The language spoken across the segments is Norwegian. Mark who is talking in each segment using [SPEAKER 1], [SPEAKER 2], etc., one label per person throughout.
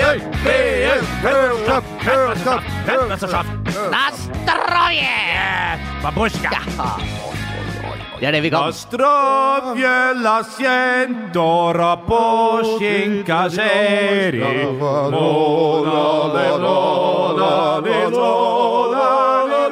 [SPEAKER 1] VM! Kjøleskap, kjøleskap,
[SPEAKER 2] Mesterskap! Nastroje! Babushka! Det er det vi kan.
[SPEAKER 1] Zdrowie dla siędora posinka żeri.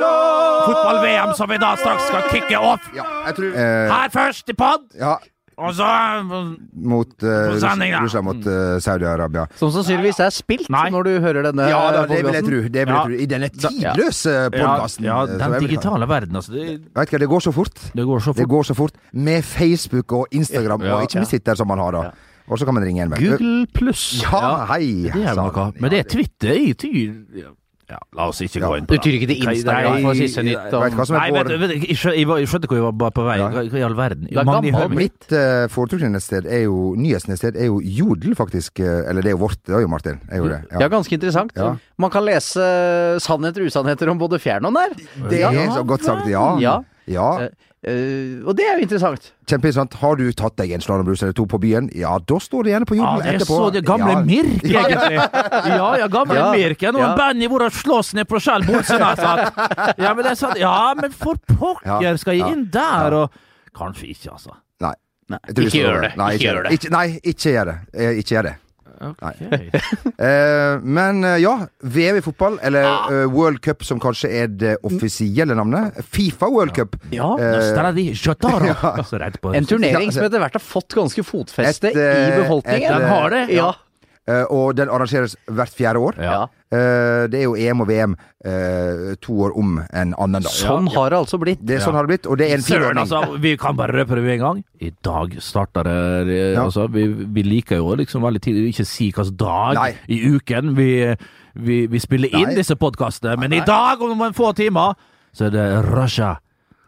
[SPEAKER 2] Fotball-VM som vi da straks skal kicke off.
[SPEAKER 3] Ja, jeg tror eh,
[SPEAKER 2] Her først i pod,
[SPEAKER 3] Ja,
[SPEAKER 2] og så eh,
[SPEAKER 3] mot eh, Russ-
[SPEAKER 2] Sending, Mm. ja.
[SPEAKER 3] Russland mot eh, Saudi-Arabia.
[SPEAKER 4] Som sannsynligvis er spilt
[SPEAKER 2] Nei.
[SPEAKER 4] når du hører denne.
[SPEAKER 3] Ja da, det
[SPEAKER 4] eh,
[SPEAKER 3] vil jeg
[SPEAKER 4] podcasten.
[SPEAKER 3] tro. Det vil
[SPEAKER 2] Ja.
[SPEAKER 3] jeg tro. I denne tidløse eh, podkasten.
[SPEAKER 2] Ja, den digitale verden, altså. Det,
[SPEAKER 3] Vet ikke, det går så fort.
[SPEAKER 2] det går så
[SPEAKER 3] Det
[SPEAKER 2] fort.
[SPEAKER 3] går så fort. Med Facebook og Instagram, og ikke minst Twitter, som man har da. Og så kan man ringe en venn.
[SPEAKER 2] Google pluss.
[SPEAKER 3] Ja, hei!
[SPEAKER 2] Det er noe.
[SPEAKER 3] sann.
[SPEAKER 2] Men det er Twitter i tyr... Ja, la oss ikke gå inn på
[SPEAKER 4] Du
[SPEAKER 2] det.
[SPEAKER 4] tyr ikke til Instagram for siste nytt
[SPEAKER 3] Jeg vet
[SPEAKER 4] om
[SPEAKER 3] hva som
[SPEAKER 2] Nei,
[SPEAKER 3] er
[SPEAKER 2] vet,
[SPEAKER 3] vår
[SPEAKER 2] du- vet, du, jeg, skjø- jeg, var- jeg skjønte ikke hvor jeg var på vei.
[SPEAKER 3] Ja.
[SPEAKER 2] Hva hva i all verden?
[SPEAKER 4] Du er
[SPEAKER 2] Mange
[SPEAKER 4] gammel,
[SPEAKER 2] hører meg.
[SPEAKER 3] Mitt eh, foretrukne sted er jo nyhetsnested er jo Jodel, faktisk. eh, Eller det er jo vårt, det er jo Martin. Er jo det.
[SPEAKER 4] Ja, ganske interessant.
[SPEAKER 3] Ja.
[SPEAKER 4] Man kan lese sannheter og usannheter om både fjern og nær.
[SPEAKER 3] Det
[SPEAKER 4] Ja.
[SPEAKER 3] er så godt sagt, ja.
[SPEAKER 4] Ja.
[SPEAKER 3] Ja,
[SPEAKER 4] Eh, og det er jo interessant.
[SPEAKER 3] Kjempeinteressant. Har du tatt deg en slalåmbrus eller to på byen, ja, da står det gjerne på
[SPEAKER 2] Ja,
[SPEAKER 3] Jodel
[SPEAKER 2] det er
[SPEAKER 3] etterpå.
[SPEAKER 2] så det gamle
[SPEAKER 3] ja.
[SPEAKER 2] Mirk, egentlig. Ja, ja, gamle
[SPEAKER 4] Ja.
[SPEAKER 2] Mirk. Ja, noen
[SPEAKER 4] Ja.
[SPEAKER 2] band i hvor han slåss ned på Kjell Bolsen. her, sant? Ja, men det er sant. Ja, men for
[SPEAKER 3] Ja.
[SPEAKER 2] pokker, skal jeg inn der og Kanskje ikke, altså.
[SPEAKER 3] Nei. Jeg tror vi
[SPEAKER 4] Ikke
[SPEAKER 3] skal
[SPEAKER 4] gjør
[SPEAKER 3] over
[SPEAKER 4] det.
[SPEAKER 3] Nei,
[SPEAKER 4] Ikke gjør det.
[SPEAKER 3] Ikke, nei, ikke gjør det. Eh, Ikke gjør det.
[SPEAKER 2] Ok.
[SPEAKER 3] Eh, men eh, ja, VM i fotball, eller eh, World Cup som kanskje er det offisielle navnet. Fifa World Cup.
[SPEAKER 2] Ja, Nostradi Jotaro. Så redd på
[SPEAKER 4] En
[SPEAKER 3] Ja,
[SPEAKER 4] turnering
[SPEAKER 3] altså-
[SPEAKER 4] som etter hvert har fått ganske fotfeste
[SPEAKER 3] Et, eh,
[SPEAKER 4] i befolkningen.
[SPEAKER 3] et, eh, Den har
[SPEAKER 4] det, ja.
[SPEAKER 3] Eh, og den arrangeres hvert fjerde år.
[SPEAKER 4] ja.
[SPEAKER 3] Eh, det er jo EM og VM eh, to år om en annen, da.
[SPEAKER 4] Sånn har det altså blitt.
[SPEAKER 3] Det er sånn har det blitt, og det er en fin
[SPEAKER 2] Søren,
[SPEAKER 3] ordning.
[SPEAKER 2] altså! Vi kan bare røpe det med en gang. I dag starter det eh,
[SPEAKER 3] Ja.
[SPEAKER 2] altså, vi, vi liker jo liksom veldig tidlig å ikke si hvilken dag
[SPEAKER 3] Nei.
[SPEAKER 2] i uken vi, vi, vi spiller inn
[SPEAKER 3] Nei.
[SPEAKER 2] disse podkastene, men i dag, om noen få timer, så er det Russia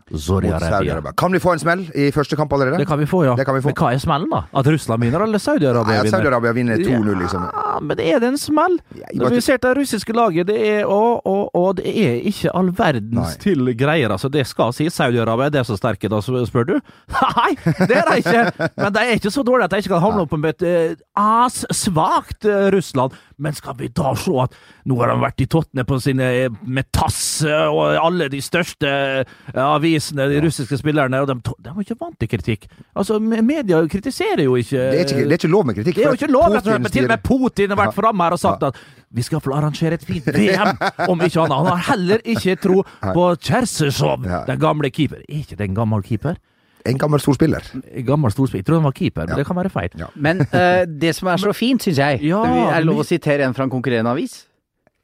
[SPEAKER 3] Mot
[SPEAKER 2] Saudi-Arabia.
[SPEAKER 3] Saudi-Arabia. Kan vi få en smell i første kamp allerede?
[SPEAKER 2] Det kan vi få, ja.
[SPEAKER 3] Det kan vi få.
[SPEAKER 2] Men hva er smellen, da? At Russland vinner, eller
[SPEAKER 3] Nei,
[SPEAKER 2] Saudi-Arabia
[SPEAKER 3] at
[SPEAKER 2] vinner?
[SPEAKER 3] Saudi-Arabia vinner 2-0, liksom.
[SPEAKER 2] Ja, men er det en smell?
[SPEAKER 3] Ja, jeg
[SPEAKER 2] Når
[SPEAKER 3] vet
[SPEAKER 2] vi ser det russiske laget, det er og, og, og det er ikke all verdens
[SPEAKER 3] Nei.
[SPEAKER 2] til greier. Altså, det skal sies. Saudi-Arabia er det så sterke, da, spør du? Nei, det er de ikke! Men de er ikke så dårlige at de ikke kan havne opp med et eh, assvakt eh, Russland. Men skal vi da se at nå har de vært i tottene på sine eh, med TASS eh, og alle de største eh, avisene, de russiske spillerne, og de, to- de er jo ikke vant til kritikk. Altså, me- media kritiserer jo ikke
[SPEAKER 3] Det er ikke, det er ikke lov med kritikk.
[SPEAKER 2] det er jo
[SPEAKER 3] for
[SPEAKER 2] ikke lov!
[SPEAKER 3] Putin
[SPEAKER 2] rett og slett, men til og med
[SPEAKER 3] styrer-
[SPEAKER 2] Putin har vært framme her og sagt at vi skal få arrangere et fint VM, om ikke annet. Han har heller ikke tro på Kjersesov,
[SPEAKER 3] Ja.
[SPEAKER 2] den gamle keeper. Er ikke det en gammel keeper?
[SPEAKER 3] En gammel storspiller.
[SPEAKER 2] Gammel storspiller. Jeg tror han var keeper, men det kan være feil.
[SPEAKER 3] Ja.
[SPEAKER 4] Men eh, det som er så fint, syns jeg
[SPEAKER 2] Ja,
[SPEAKER 4] Det er lov
[SPEAKER 2] men-
[SPEAKER 4] å sitere en fra en konkurrerende avis.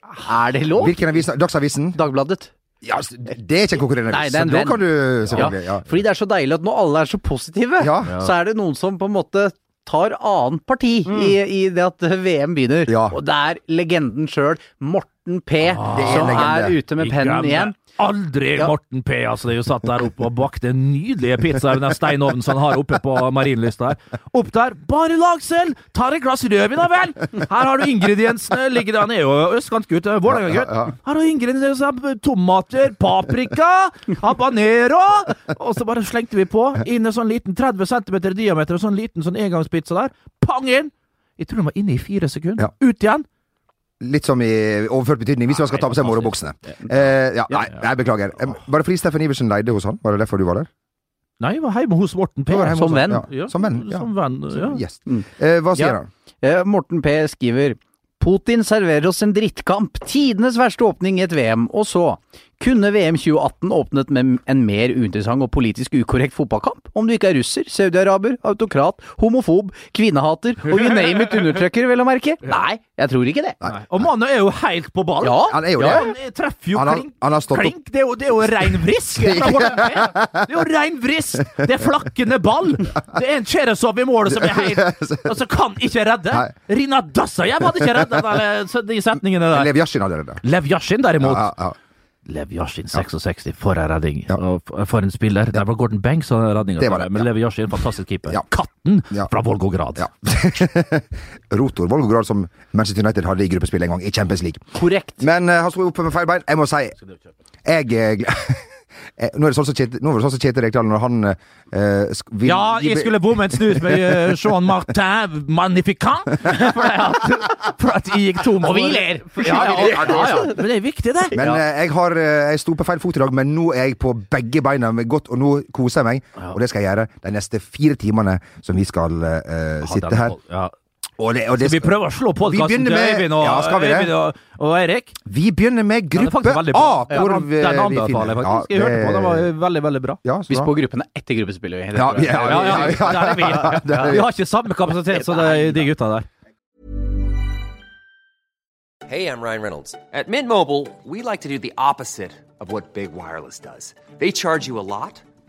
[SPEAKER 4] Er det lov?
[SPEAKER 3] Hvilken avis? Dagsavisen?
[SPEAKER 4] Dagbladet.
[SPEAKER 3] Ja, s- det er ikke en konkurrerende
[SPEAKER 4] Nei,
[SPEAKER 3] avis.
[SPEAKER 4] det er
[SPEAKER 3] så
[SPEAKER 4] en
[SPEAKER 3] Da
[SPEAKER 4] venn.
[SPEAKER 3] kan du
[SPEAKER 4] Ja,
[SPEAKER 3] selvfølgelig ja.
[SPEAKER 4] fordi det er så deilig at når alle er så positive,
[SPEAKER 3] Ja.
[SPEAKER 4] så er det noen som på en måte tar annet parti i, i det at VM begynner.
[SPEAKER 3] Mm. Ja. Ah,
[SPEAKER 4] Og det er legenden sjøl, Morten P,
[SPEAKER 3] Det er
[SPEAKER 4] som
[SPEAKER 3] legende.
[SPEAKER 4] er ute med
[SPEAKER 2] Ikke
[SPEAKER 4] pennen
[SPEAKER 2] med-
[SPEAKER 4] igjen.
[SPEAKER 2] Aldri
[SPEAKER 4] Ja.
[SPEAKER 2] Morten P. altså Det er jo satt der oppe og bakte nydelige pizzaer med den steinovnen som han har oppe på Marienlyst der. Opp der, bare lag selv! Tar et glass rødvin da vel! Her har du ingrediensene. ligger der, Han er jo østkantgutt, eh, Vålerenga-gutt.
[SPEAKER 3] Ja, ja, ja.
[SPEAKER 2] Her har du ingrediensene. Tomater, paprika, habanero! Og så bare slengte vi på. Inn en sånn liten 30 cm diameter, og sånn liten sånn engangspizza der. Pang inn! Jeg tror den var inne i fire sekunder. Ut igjen.
[SPEAKER 3] Litt som i overført betydning, hvis man skal ta på seg morobuksene. Eh, ja, nei, jeg beklager. Eh, Var det fordi Steffen Iversen leide hos han? Var det derfor du var der?
[SPEAKER 2] Nei, jeg var hjemme hos Morten P.
[SPEAKER 3] Du var hjemme
[SPEAKER 4] som
[SPEAKER 3] hos han.
[SPEAKER 4] venn.
[SPEAKER 3] Ja.
[SPEAKER 2] Ja,
[SPEAKER 3] Som venn. Ja.
[SPEAKER 2] Som venn, ja.
[SPEAKER 3] Gjest.
[SPEAKER 4] Mm.
[SPEAKER 3] Eh, hva sier
[SPEAKER 4] Ja.
[SPEAKER 3] han?
[SPEAKER 4] Eh, Morten P skriver Putin serverer oss en drittkamp, tidenes verste åpning i et VM, og så kunne VM 2018 åpnet med en mer uinteressant og politisk ukorrekt fotballkamp, om du ikke er russer, saudiaraber, autokrat, homofob, kvinnehater og you name it undertrykker, vel å merke? Nei, jeg tror ikke det.
[SPEAKER 2] Nei. Og mannen er jo helt på ballen.
[SPEAKER 4] Ja,
[SPEAKER 3] Han er jo
[SPEAKER 4] ja,
[SPEAKER 3] det.
[SPEAKER 2] Han treffer jo
[SPEAKER 3] Han har-
[SPEAKER 2] klink.
[SPEAKER 3] han har stått
[SPEAKER 2] klink. Det er jo, det er jo rein vrisk! fra Morten P. Det er jo rein vrisk! Det er flakkende ball! Det er en Cheresov i målet som er helt Og som kan ikke redde! Rina Dassajev hadde ikke redda den, eh, de setningene der.
[SPEAKER 3] Lev Yashin hadde det der.
[SPEAKER 2] Lev Yashin, derimot
[SPEAKER 3] Ja, ja,
[SPEAKER 2] Lev Yashin, 66, for en redning.
[SPEAKER 3] Ja.
[SPEAKER 2] Og f- for en spiller. Der var Gordon Banks og den redninga.
[SPEAKER 3] Det var det,
[SPEAKER 2] Men
[SPEAKER 3] ja.
[SPEAKER 2] Lev Yashin, fantastisk keeper.
[SPEAKER 3] Ja.
[SPEAKER 2] Katten
[SPEAKER 3] Ja.
[SPEAKER 2] fra Volgograd.
[SPEAKER 3] ja. Rotor Volgograd, som Manchester United hadde i gruppespill en gang, i Champions League.
[SPEAKER 4] korrekt.
[SPEAKER 3] Men eh, han sto oppe med feil bein. Jeg må si Jeg, eh, gle- eh, Nå er det sånn som Kjetil- nå var det sånn som Kjetil Rekdal når han eh, sk- vil-
[SPEAKER 2] Ja, jeg skulle bomme en snus med eh, Jean Martin Magnificant! For at, for at jeg gikk tom for
[SPEAKER 4] Og vi ler.
[SPEAKER 2] Ja, ja, ja, ja, ja. Men det er viktig, det.
[SPEAKER 3] Men eh, jeg, har, eh, jeg sto på feil fot i dag, men nå er jeg på begge beina med godt, og nå koser jeg meg. Og det skal jeg gjøre de neste fire timene som vi skal eh, sitte her.
[SPEAKER 2] Ja.
[SPEAKER 3] Og det, og det
[SPEAKER 2] Vi prøver å slå podkasten til
[SPEAKER 3] begynner med-
[SPEAKER 2] Øyvind og,
[SPEAKER 3] Ja, skal vi det?
[SPEAKER 2] Øyvind og, og Eirik.
[SPEAKER 3] vi begynner med
[SPEAKER 2] Den er
[SPEAKER 3] gruppe
[SPEAKER 2] faktisk
[SPEAKER 3] A,
[SPEAKER 2] veldig bra. Ja,
[SPEAKER 3] hvor
[SPEAKER 2] den-
[SPEAKER 3] vi,
[SPEAKER 2] Den
[SPEAKER 3] vi
[SPEAKER 2] anbefaler
[SPEAKER 3] finner
[SPEAKER 2] jeg faktisk. Jeg hørte på, den var veldig, veldig bra.
[SPEAKER 3] ja,
[SPEAKER 4] Vi
[SPEAKER 3] så bra.
[SPEAKER 4] spår gruppene etter gruppespillet. vi. Det
[SPEAKER 3] Ja,
[SPEAKER 4] tror jeg.
[SPEAKER 3] ja,
[SPEAKER 2] Ja, ja, ja,
[SPEAKER 3] ja,
[SPEAKER 2] der er vi.
[SPEAKER 3] Der er vi.
[SPEAKER 2] Vi har ikke samme kapasitet som de, de gutta der.
[SPEAKER 5] Hey, I'm Ryan Reynolds. At Mint Mobile, we like to do the opposite of what Big Wireless does. They charge you a lot,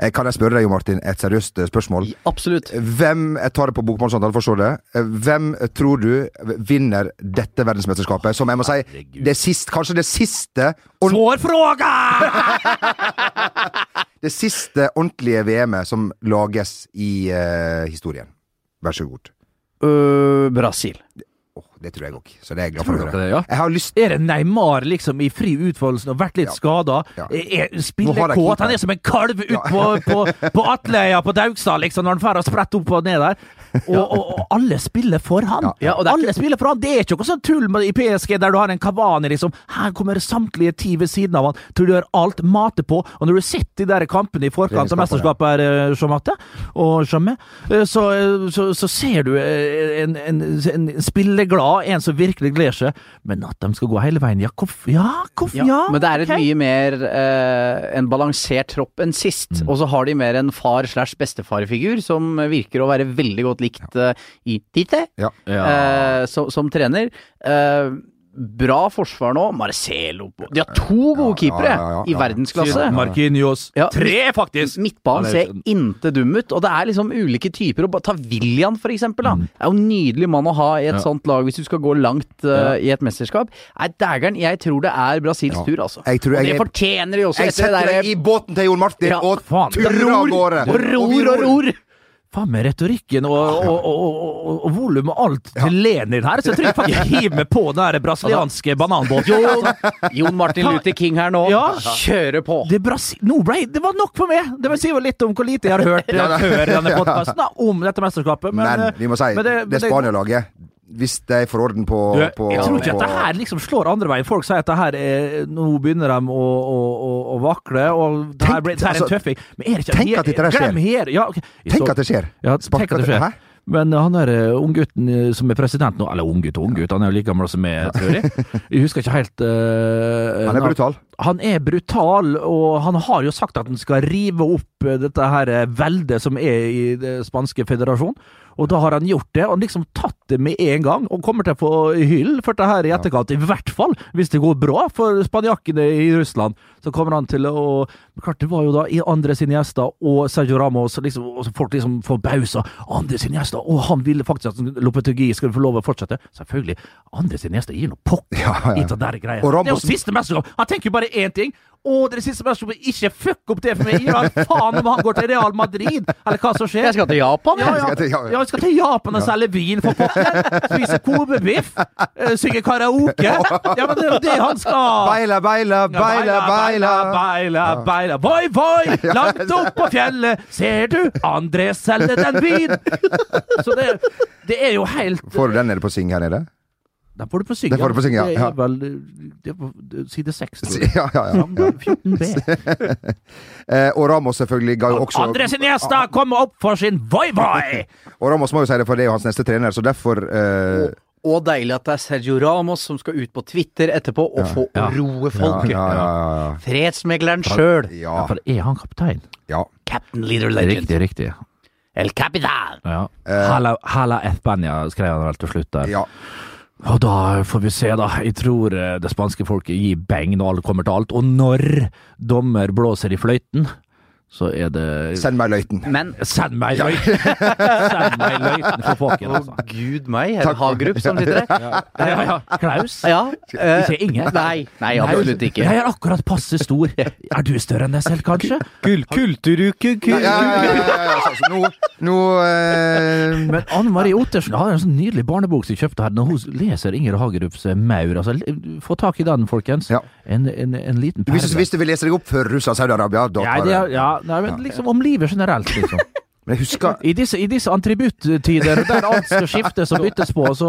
[SPEAKER 3] Eh, Kan jeg spørre deg, Jo Martin, et seriøst eh, spørsmål?
[SPEAKER 4] Absolutt.
[SPEAKER 3] Hvem jeg tar det på bokmålssamtale, forstår det. eh, Hvem tror du vinner dette verdensmesterskapet? Som jeg må si, det sist, kanskje det siste ordn-
[SPEAKER 2] Får fråga!
[SPEAKER 3] det siste ordentlige VM-et som lages i eh, historien. Vær så god. Eh,
[SPEAKER 4] Øh, Brasil.
[SPEAKER 3] Åh, det tror jeg òg, så det er jeg glad for å
[SPEAKER 2] Tror
[SPEAKER 3] høre.
[SPEAKER 2] dere det, ja?
[SPEAKER 3] Jeg har lyst
[SPEAKER 2] Er det Neymar liksom i fri utfoldelse og vært litt
[SPEAKER 3] Ja.
[SPEAKER 2] skada?
[SPEAKER 3] Ja. Nå har
[SPEAKER 2] Spiller
[SPEAKER 3] jeg
[SPEAKER 2] kåt?
[SPEAKER 3] keeper.
[SPEAKER 2] Han er som en kalv ut på, på, på Atleia på Daugstad, liksom, når han drar og spretter opp og ned der. Og, og, og alle spiller for han!
[SPEAKER 4] Ja, og det er
[SPEAKER 2] alle spiller for han! Det er ikke noe sånn tull med, i PSG der du har en Kavani, liksom. Her kommer samtlige ti ved siden av han, tror du gjør alt matet på. Og når du sitter i de der kampene i forkant av mesterskapet her, eh, Jean-Matte og Jean-Mé, eh, så, eh, så, så ser du eh, en, en, en spilleglad, en som virkelig gleder seg. Men at de skal gå hele veien, ja, hvorfor? Ja, hvorfor? Ja,
[SPEAKER 4] Men det er et
[SPEAKER 2] ok.
[SPEAKER 4] mye mer eh, en balansert tropp enn sist.
[SPEAKER 3] Mm.
[SPEAKER 4] Og så har de mer en far slash bestefarfigur som virker å være veldig godt likt eh, i Tite,
[SPEAKER 3] Ja.
[SPEAKER 4] eh, som, som trener. Eh, bra forsvar nå. Marcelo på- De har to gode keepere
[SPEAKER 3] ja, ja, ja.
[SPEAKER 4] i verdensklasse.
[SPEAKER 2] Markinios.
[SPEAKER 4] Ja.
[SPEAKER 2] Tre, faktisk!
[SPEAKER 4] Midtbanen
[SPEAKER 2] Ja, det
[SPEAKER 4] ser
[SPEAKER 3] sånn.
[SPEAKER 2] er-
[SPEAKER 4] inte dum ut, og det er liksom ulike typer. Og ba- ta William, for eksempel.
[SPEAKER 3] Mm.
[SPEAKER 4] Da. Det er jo en nydelig mann å ha i et sånt lag hvis du skal gå langt eh, i et mesterskap. Nei, dægeren, jeg tror det er Brasils tur, altså.
[SPEAKER 3] Jeg tror
[SPEAKER 4] og
[SPEAKER 3] jeg
[SPEAKER 4] det
[SPEAKER 3] er-
[SPEAKER 4] fortjener de også,
[SPEAKER 3] Jeg
[SPEAKER 4] etter det
[SPEAKER 3] setter
[SPEAKER 4] derre
[SPEAKER 3] deg i båten til Jon Martin
[SPEAKER 4] Ja,
[SPEAKER 3] og
[SPEAKER 2] faen.
[SPEAKER 3] turer av gårde!
[SPEAKER 4] og
[SPEAKER 3] vi
[SPEAKER 4] ror og ror!
[SPEAKER 2] Faen meg retorikken og, og, og, og, og, og volum og alt til Lenin her, så jeg tror jeg faktisk hiver meg på den der
[SPEAKER 3] Altså-
[SPEAKER 2] brasilianske bananbåten.
[SPEAKER 4] eh, Jon Martin Luther King her nå,
[SPEAKER 2] Ja.
[SPEAKER 4] kjøre på!
[SPEAKER 2] Det, er Brasi- no, Ray, det var nok for meg! Det vil si jo litt om hvor lite jeg har hørt eh, før i denne podkasten om dette mesterskapet. Men,
[SPEAKER 3] Men
[SPEAKER 2] eh,
[SPEAKER 3] vi må si,
[SPEAKER 2] men
[SPEAKER 3] det,
[SPEAKER 2] men
[SPEAKER 3] Spania-laget Hvis de får orden på,
[SPEAKER 2] Du,
[SPEAKER 3] på
[SPEAKER 2] jeg tror ikke
[SPEAKER 3] på,
[SPEAKER 2] at det her liksom slår andre veien. Folk sier at det her er, nå begynner de å, å, å, å vakle, og det her,
[SPEAKER 3] Tenk-
[SPEAKER 2] blir, det her er
[SPEAKER 3] altså,
[SPEAKER 2] en tøffing. Men er det ikke
[SPEAKER 3] tenk at dette her skjer.
[SPEAKER 2] Glem her! Ja, ok.
[SPEAKER 3] Tenk at det skjer!
[SPEAKER 2] Ja, tenk at det skjer.
[SPEAKER 3] Hæ?
[SPEAKER 2] Men han der eh, unggutten eh, som er president nå, eller unggutt og unggutt, han er jo like gammel som meg, tror jeg. Jeg husker ikke helt eh,
[SPEAKER 3] Han er brutal.
[SPEAKER 2] Han er brutal, og han har jo sagt at han skal rive opp eh, dette her eh, veldet som er i det spanske federasjon. Og da har han gjort det, og han liksom tatt det med en gang, og kommer til å få hyll for dette her i etterkant. I hvert fall hvis det går bra for spanjakkene i Russland. Så kommer han til å Men Klart det var jo da i andre sine gjester og Sergio Ramos, og liksom, og så folk liksom forbausa. Andre sine gjester! Og han ville faktisk at Lopetegi skulle få lov å fortsette. Selvfølgelig. Andre sine gjester gir noe pokker
[SPEAKER 3] Ja, ja.
[SPEAKER 2] i det der greia.
[SPEAKER 3] Og Ramos-
[SPEAKER 2] Det er jo siste mesterskap. Han tenker jo bare én ting. Å, det er det siste mesterskapet. Ikke fuck opp det for meg! Gi meg faen om han går til Real Madrid, eller hva som skjer.
[SPEAKER 4] Jeg skal til Japan,
[SPEAKER 2] Ja,
[SPEAKER 4] jeg.
[SPEAKER 2] ja.
[SPEAKER 3] skal til- ja, ja.
[SPEAKER 2] ja, vi skal til Japan og selge vin, for pokker! Spise kobebiff! eh, Synge karaoke! Ja, men det er jo det han skal!
[SPEAKER 3] Beila, beila, beila, beila.
[SPEAKER 2] beila, beila. Voi, voi! Langt opp på fjellet ser du André selge den vin! Så det, det er jo helt
[SPEAKER 3] Får du den nede på syng her nede?
[SPEAKER 2] Den får du på synge.
[SPEAKER 3] Den får du på synge, ja.
[SPEAKER 2] Det
[SPEAKER 3] Ja.
[SPEAKER 2] er vel det er på side 6, tror jeg.
[SPEAKER 3] Ja, ja, ja.
[SPEAKER 2] Framgang 14b.
[SPEAKER 3] Eh, og Ramos selvfølgelig ga jo også
[SPEAKER 2] André sin gjester kommer opp for sin voi-voi!
[SPEAKER 3] Og Ramos må jo si det, for det er jo hans neste trener, så derfor eh,
[SPEAKER 4] Og deilig at det er Sergio Ramos som skal ut på Twitter etterpå og få roe folket.
[SPEAKER 3] Ja, ja, ja.
[SPEAKER 4] Fredsmegleren sjøl.
[SPEAKER 3] Oh, Ja.
[SPEAKER 2] For er han kaptein?
[SPEAKER 3] ja.
[SPEAKER 4] Captain Leader Legend.
[SPEAKER 2] riktig.
[SPEAKER 4] El Capitan.
[SPEAKER 2] Ja. Hala, Hala Espania skrev han vel til slutt
[SPEAKER 3] ja.
[SPEAKER 2] der.
[SPEAKER 3] ja.
[SPEAKER 2] Og da får vi se, da. Jeg tror eh, det spanske folket gir beng når alt kommer til alt. Og når dommer blåser i fløyten, så er det
[SPEAKER 3] Send meg løyten.
[SPEAKER 4] Men
[SPEAKER 2] Send meg løyten! Send meg løyten for folket,
[SPEAKER 4] å
[SPEAKER 2] altså.
[SPEAKER 4] gud meg, er det Hagerup som sitter der?
[SPEAKER 2] Ja, ja. Klaus?
[SPEAKER 4] Ja. eh,
[SPEAKER 2] Ikke Inge?
[SPEAKER 4] Nei, nei, absolutt ikke.
[SPEAKER 2] Jeg er akkurat passe stor. Er du større enn deg selv, kanskje?
[SPEAKER 4] Kulturuke,
[SPEAKER 3] Ja, ja, ja, ja, ja, ja. Så, så nå, nå eh,
[SPEAKER 2] Men Anne Marie Ottersen har en sånn nydelig barnebok som jeg kjøpte her. Når hun leser Inger Hagerups eh, Maur altså, l- Få tak i den, folkens.
[SPEAKER 3] Ja.
[SPEAKER 2] En, en, en liten perle.
[SPEAKER 3] hvis, du- hvis du vil lese deg opp for Russland Saudi-Arabia, da
[SPEAKER 2] Nei,
[SPEAKER 3] tar
[SPEAKER 2] det, er-
[SPEAKER 3] det.
[SPEAKER 2] ja, nei, men liksom om livet generelt, liksom.
[SPEAKER 3] Men jeg husker
[SPEAKER 2] I disse, i disse antributtider der alt skal skiftes og byttes på, så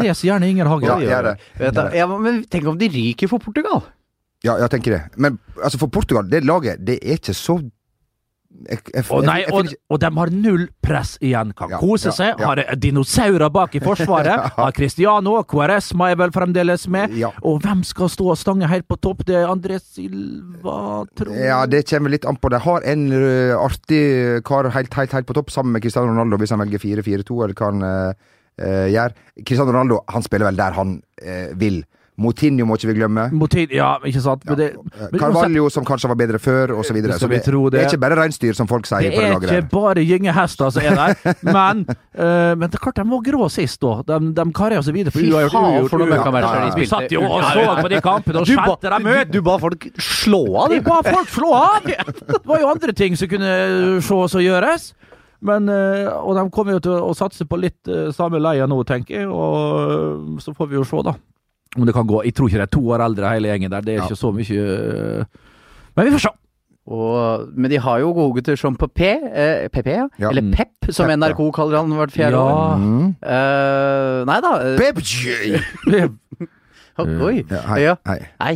[SPEAKER 2] les gjerne Inger
[SPEAKER 3] Ja,
[SPEAKER 2] Hagerup.
[SPEAKER 3] jeg er det.
[SPEAKER 4] Vet du, ja, men tenk om de ryker for Portugal?
[SPEAKER 3] Ja, jeg tenker det. Men altså, for Portugal, det laget, det er ikke så jeg, jeg,
[SPEAKER 2] Og, nei,
[SPEAKER 3] jeg- jeg
[SPEAKER 2] og,
[SPEAKER 3] finner ikke-
[SPEAKER 2] og de har null press igjen. Kan
[SPEAKER 3] Ja,
[SPEAKER 2] kose
[SPEAKER 3] ja,
[SPEAKER 2] seg.
[SPEAKER 3] ja.
[SPEAKER 2] Har eh, dinosaurer bak i forsvaret. Har Cristiano Cuaresma er vel fremdeles med.
[SPEAKER 3] Ja.
[SPEAKER 2] Og hvem skal stå og stange helt på topp? Det er André Silva, tror jeg.
[SPEAKER 3] Ja, det kommer litt an på. De har en ø, artig eh, kar helt, helt, helt på topp, sammen med Cristiano Ronaldo, hvis han velger 4-4-2, eller hva han ø, ø, gjør. Cristiano Ronaldo han spiller vel der han ø, vil. Moutinho må ikke vi glemme.
[SPEAKER 2] Motin, ja, ikke sant? Men det,
[SPEAKER 3] Eh,
[SPEAKER 2] men uansett,
[SPEAKER 3] Carvalho, som kanskje var bedre før, osv.
[SPEAKER 2] Det skal
[SPEAKER 3] Så
[SPEAKER 2] vi
[SPEAKER 3] det,
[SPEAKER 2] tro
[SPEAKER 3] det er
[SPEAKER 2] det.
[SPEAKER 3] ikke bare reinsdyr, som folk sier.
[SPEAKER 2] det
[SPEAKER 3] på det
[SPEAKER 2] er
[SPEAKER 3] laget
[SPEAKER 2] ikke
[SPEAKER 3] der.
[SPEAKER 2] bare gyngehester som er der, men, eh, men det er klart de var grå sist, da. De, de karrer seg videre på
[SPEAKER 4] Fy
[SPEAKER 2] uavgjort.
[SPEAKER 4] faen,
[SPEAKER 2] uavgjort,
[SPEAKER 4] for noen
[SPEAKER 2] uavgjort.
[SPEAKER 4] møkkamatcher de
[SPEAKER 2] Vi
[SPEAKER 4] spilte.
[SPEAKER 2] satt jo og så på de kampene og
[SPEAKER 4] Du ba-
[SPEAKER 2] skjelte dem ut!
[SPEAKER 4] Du ba folk slå av,
[SPEAKER 2] De
[SPEAKER 4] du.
[SPEAKER 2] ba folk slå av! Det var jo andre ting som kunne ses og gjøres. Men, eh, og de kommer jo til å satse på litt eh, samme leia nå, tenker jeg. Og eh, så får vi jo se, da. Om det kan gå. Jeg tror ikke de er to år eldre, hele gjengen der. Det er ikke så mye eh, Men vi får se.
[SPEAKER 4] Og, men de har jo gode gutter som Pepe, eh, Pepe ja.
[SPEAKER 3] Ja.
[SPEAKER 4] eller Pep, som
[SPEAKER 3] Pep,
[SPEAKER 4] NRK kaller han hvert fjerde
[SPEAKER 2] Ja.
[SPEAKER 4] år.
[SPEAKER 3] Mm.
[SPEAKER 4] Eh, nei da. eh,
[SPEAKER 3] Pep G!
[SPEAKER 4] Oi.
[SPEAKER 3] Ja, hei,
[SPEAKER 4] Ja.
[SPEAKER 3] hei.
[SPEAKER 4] Nei.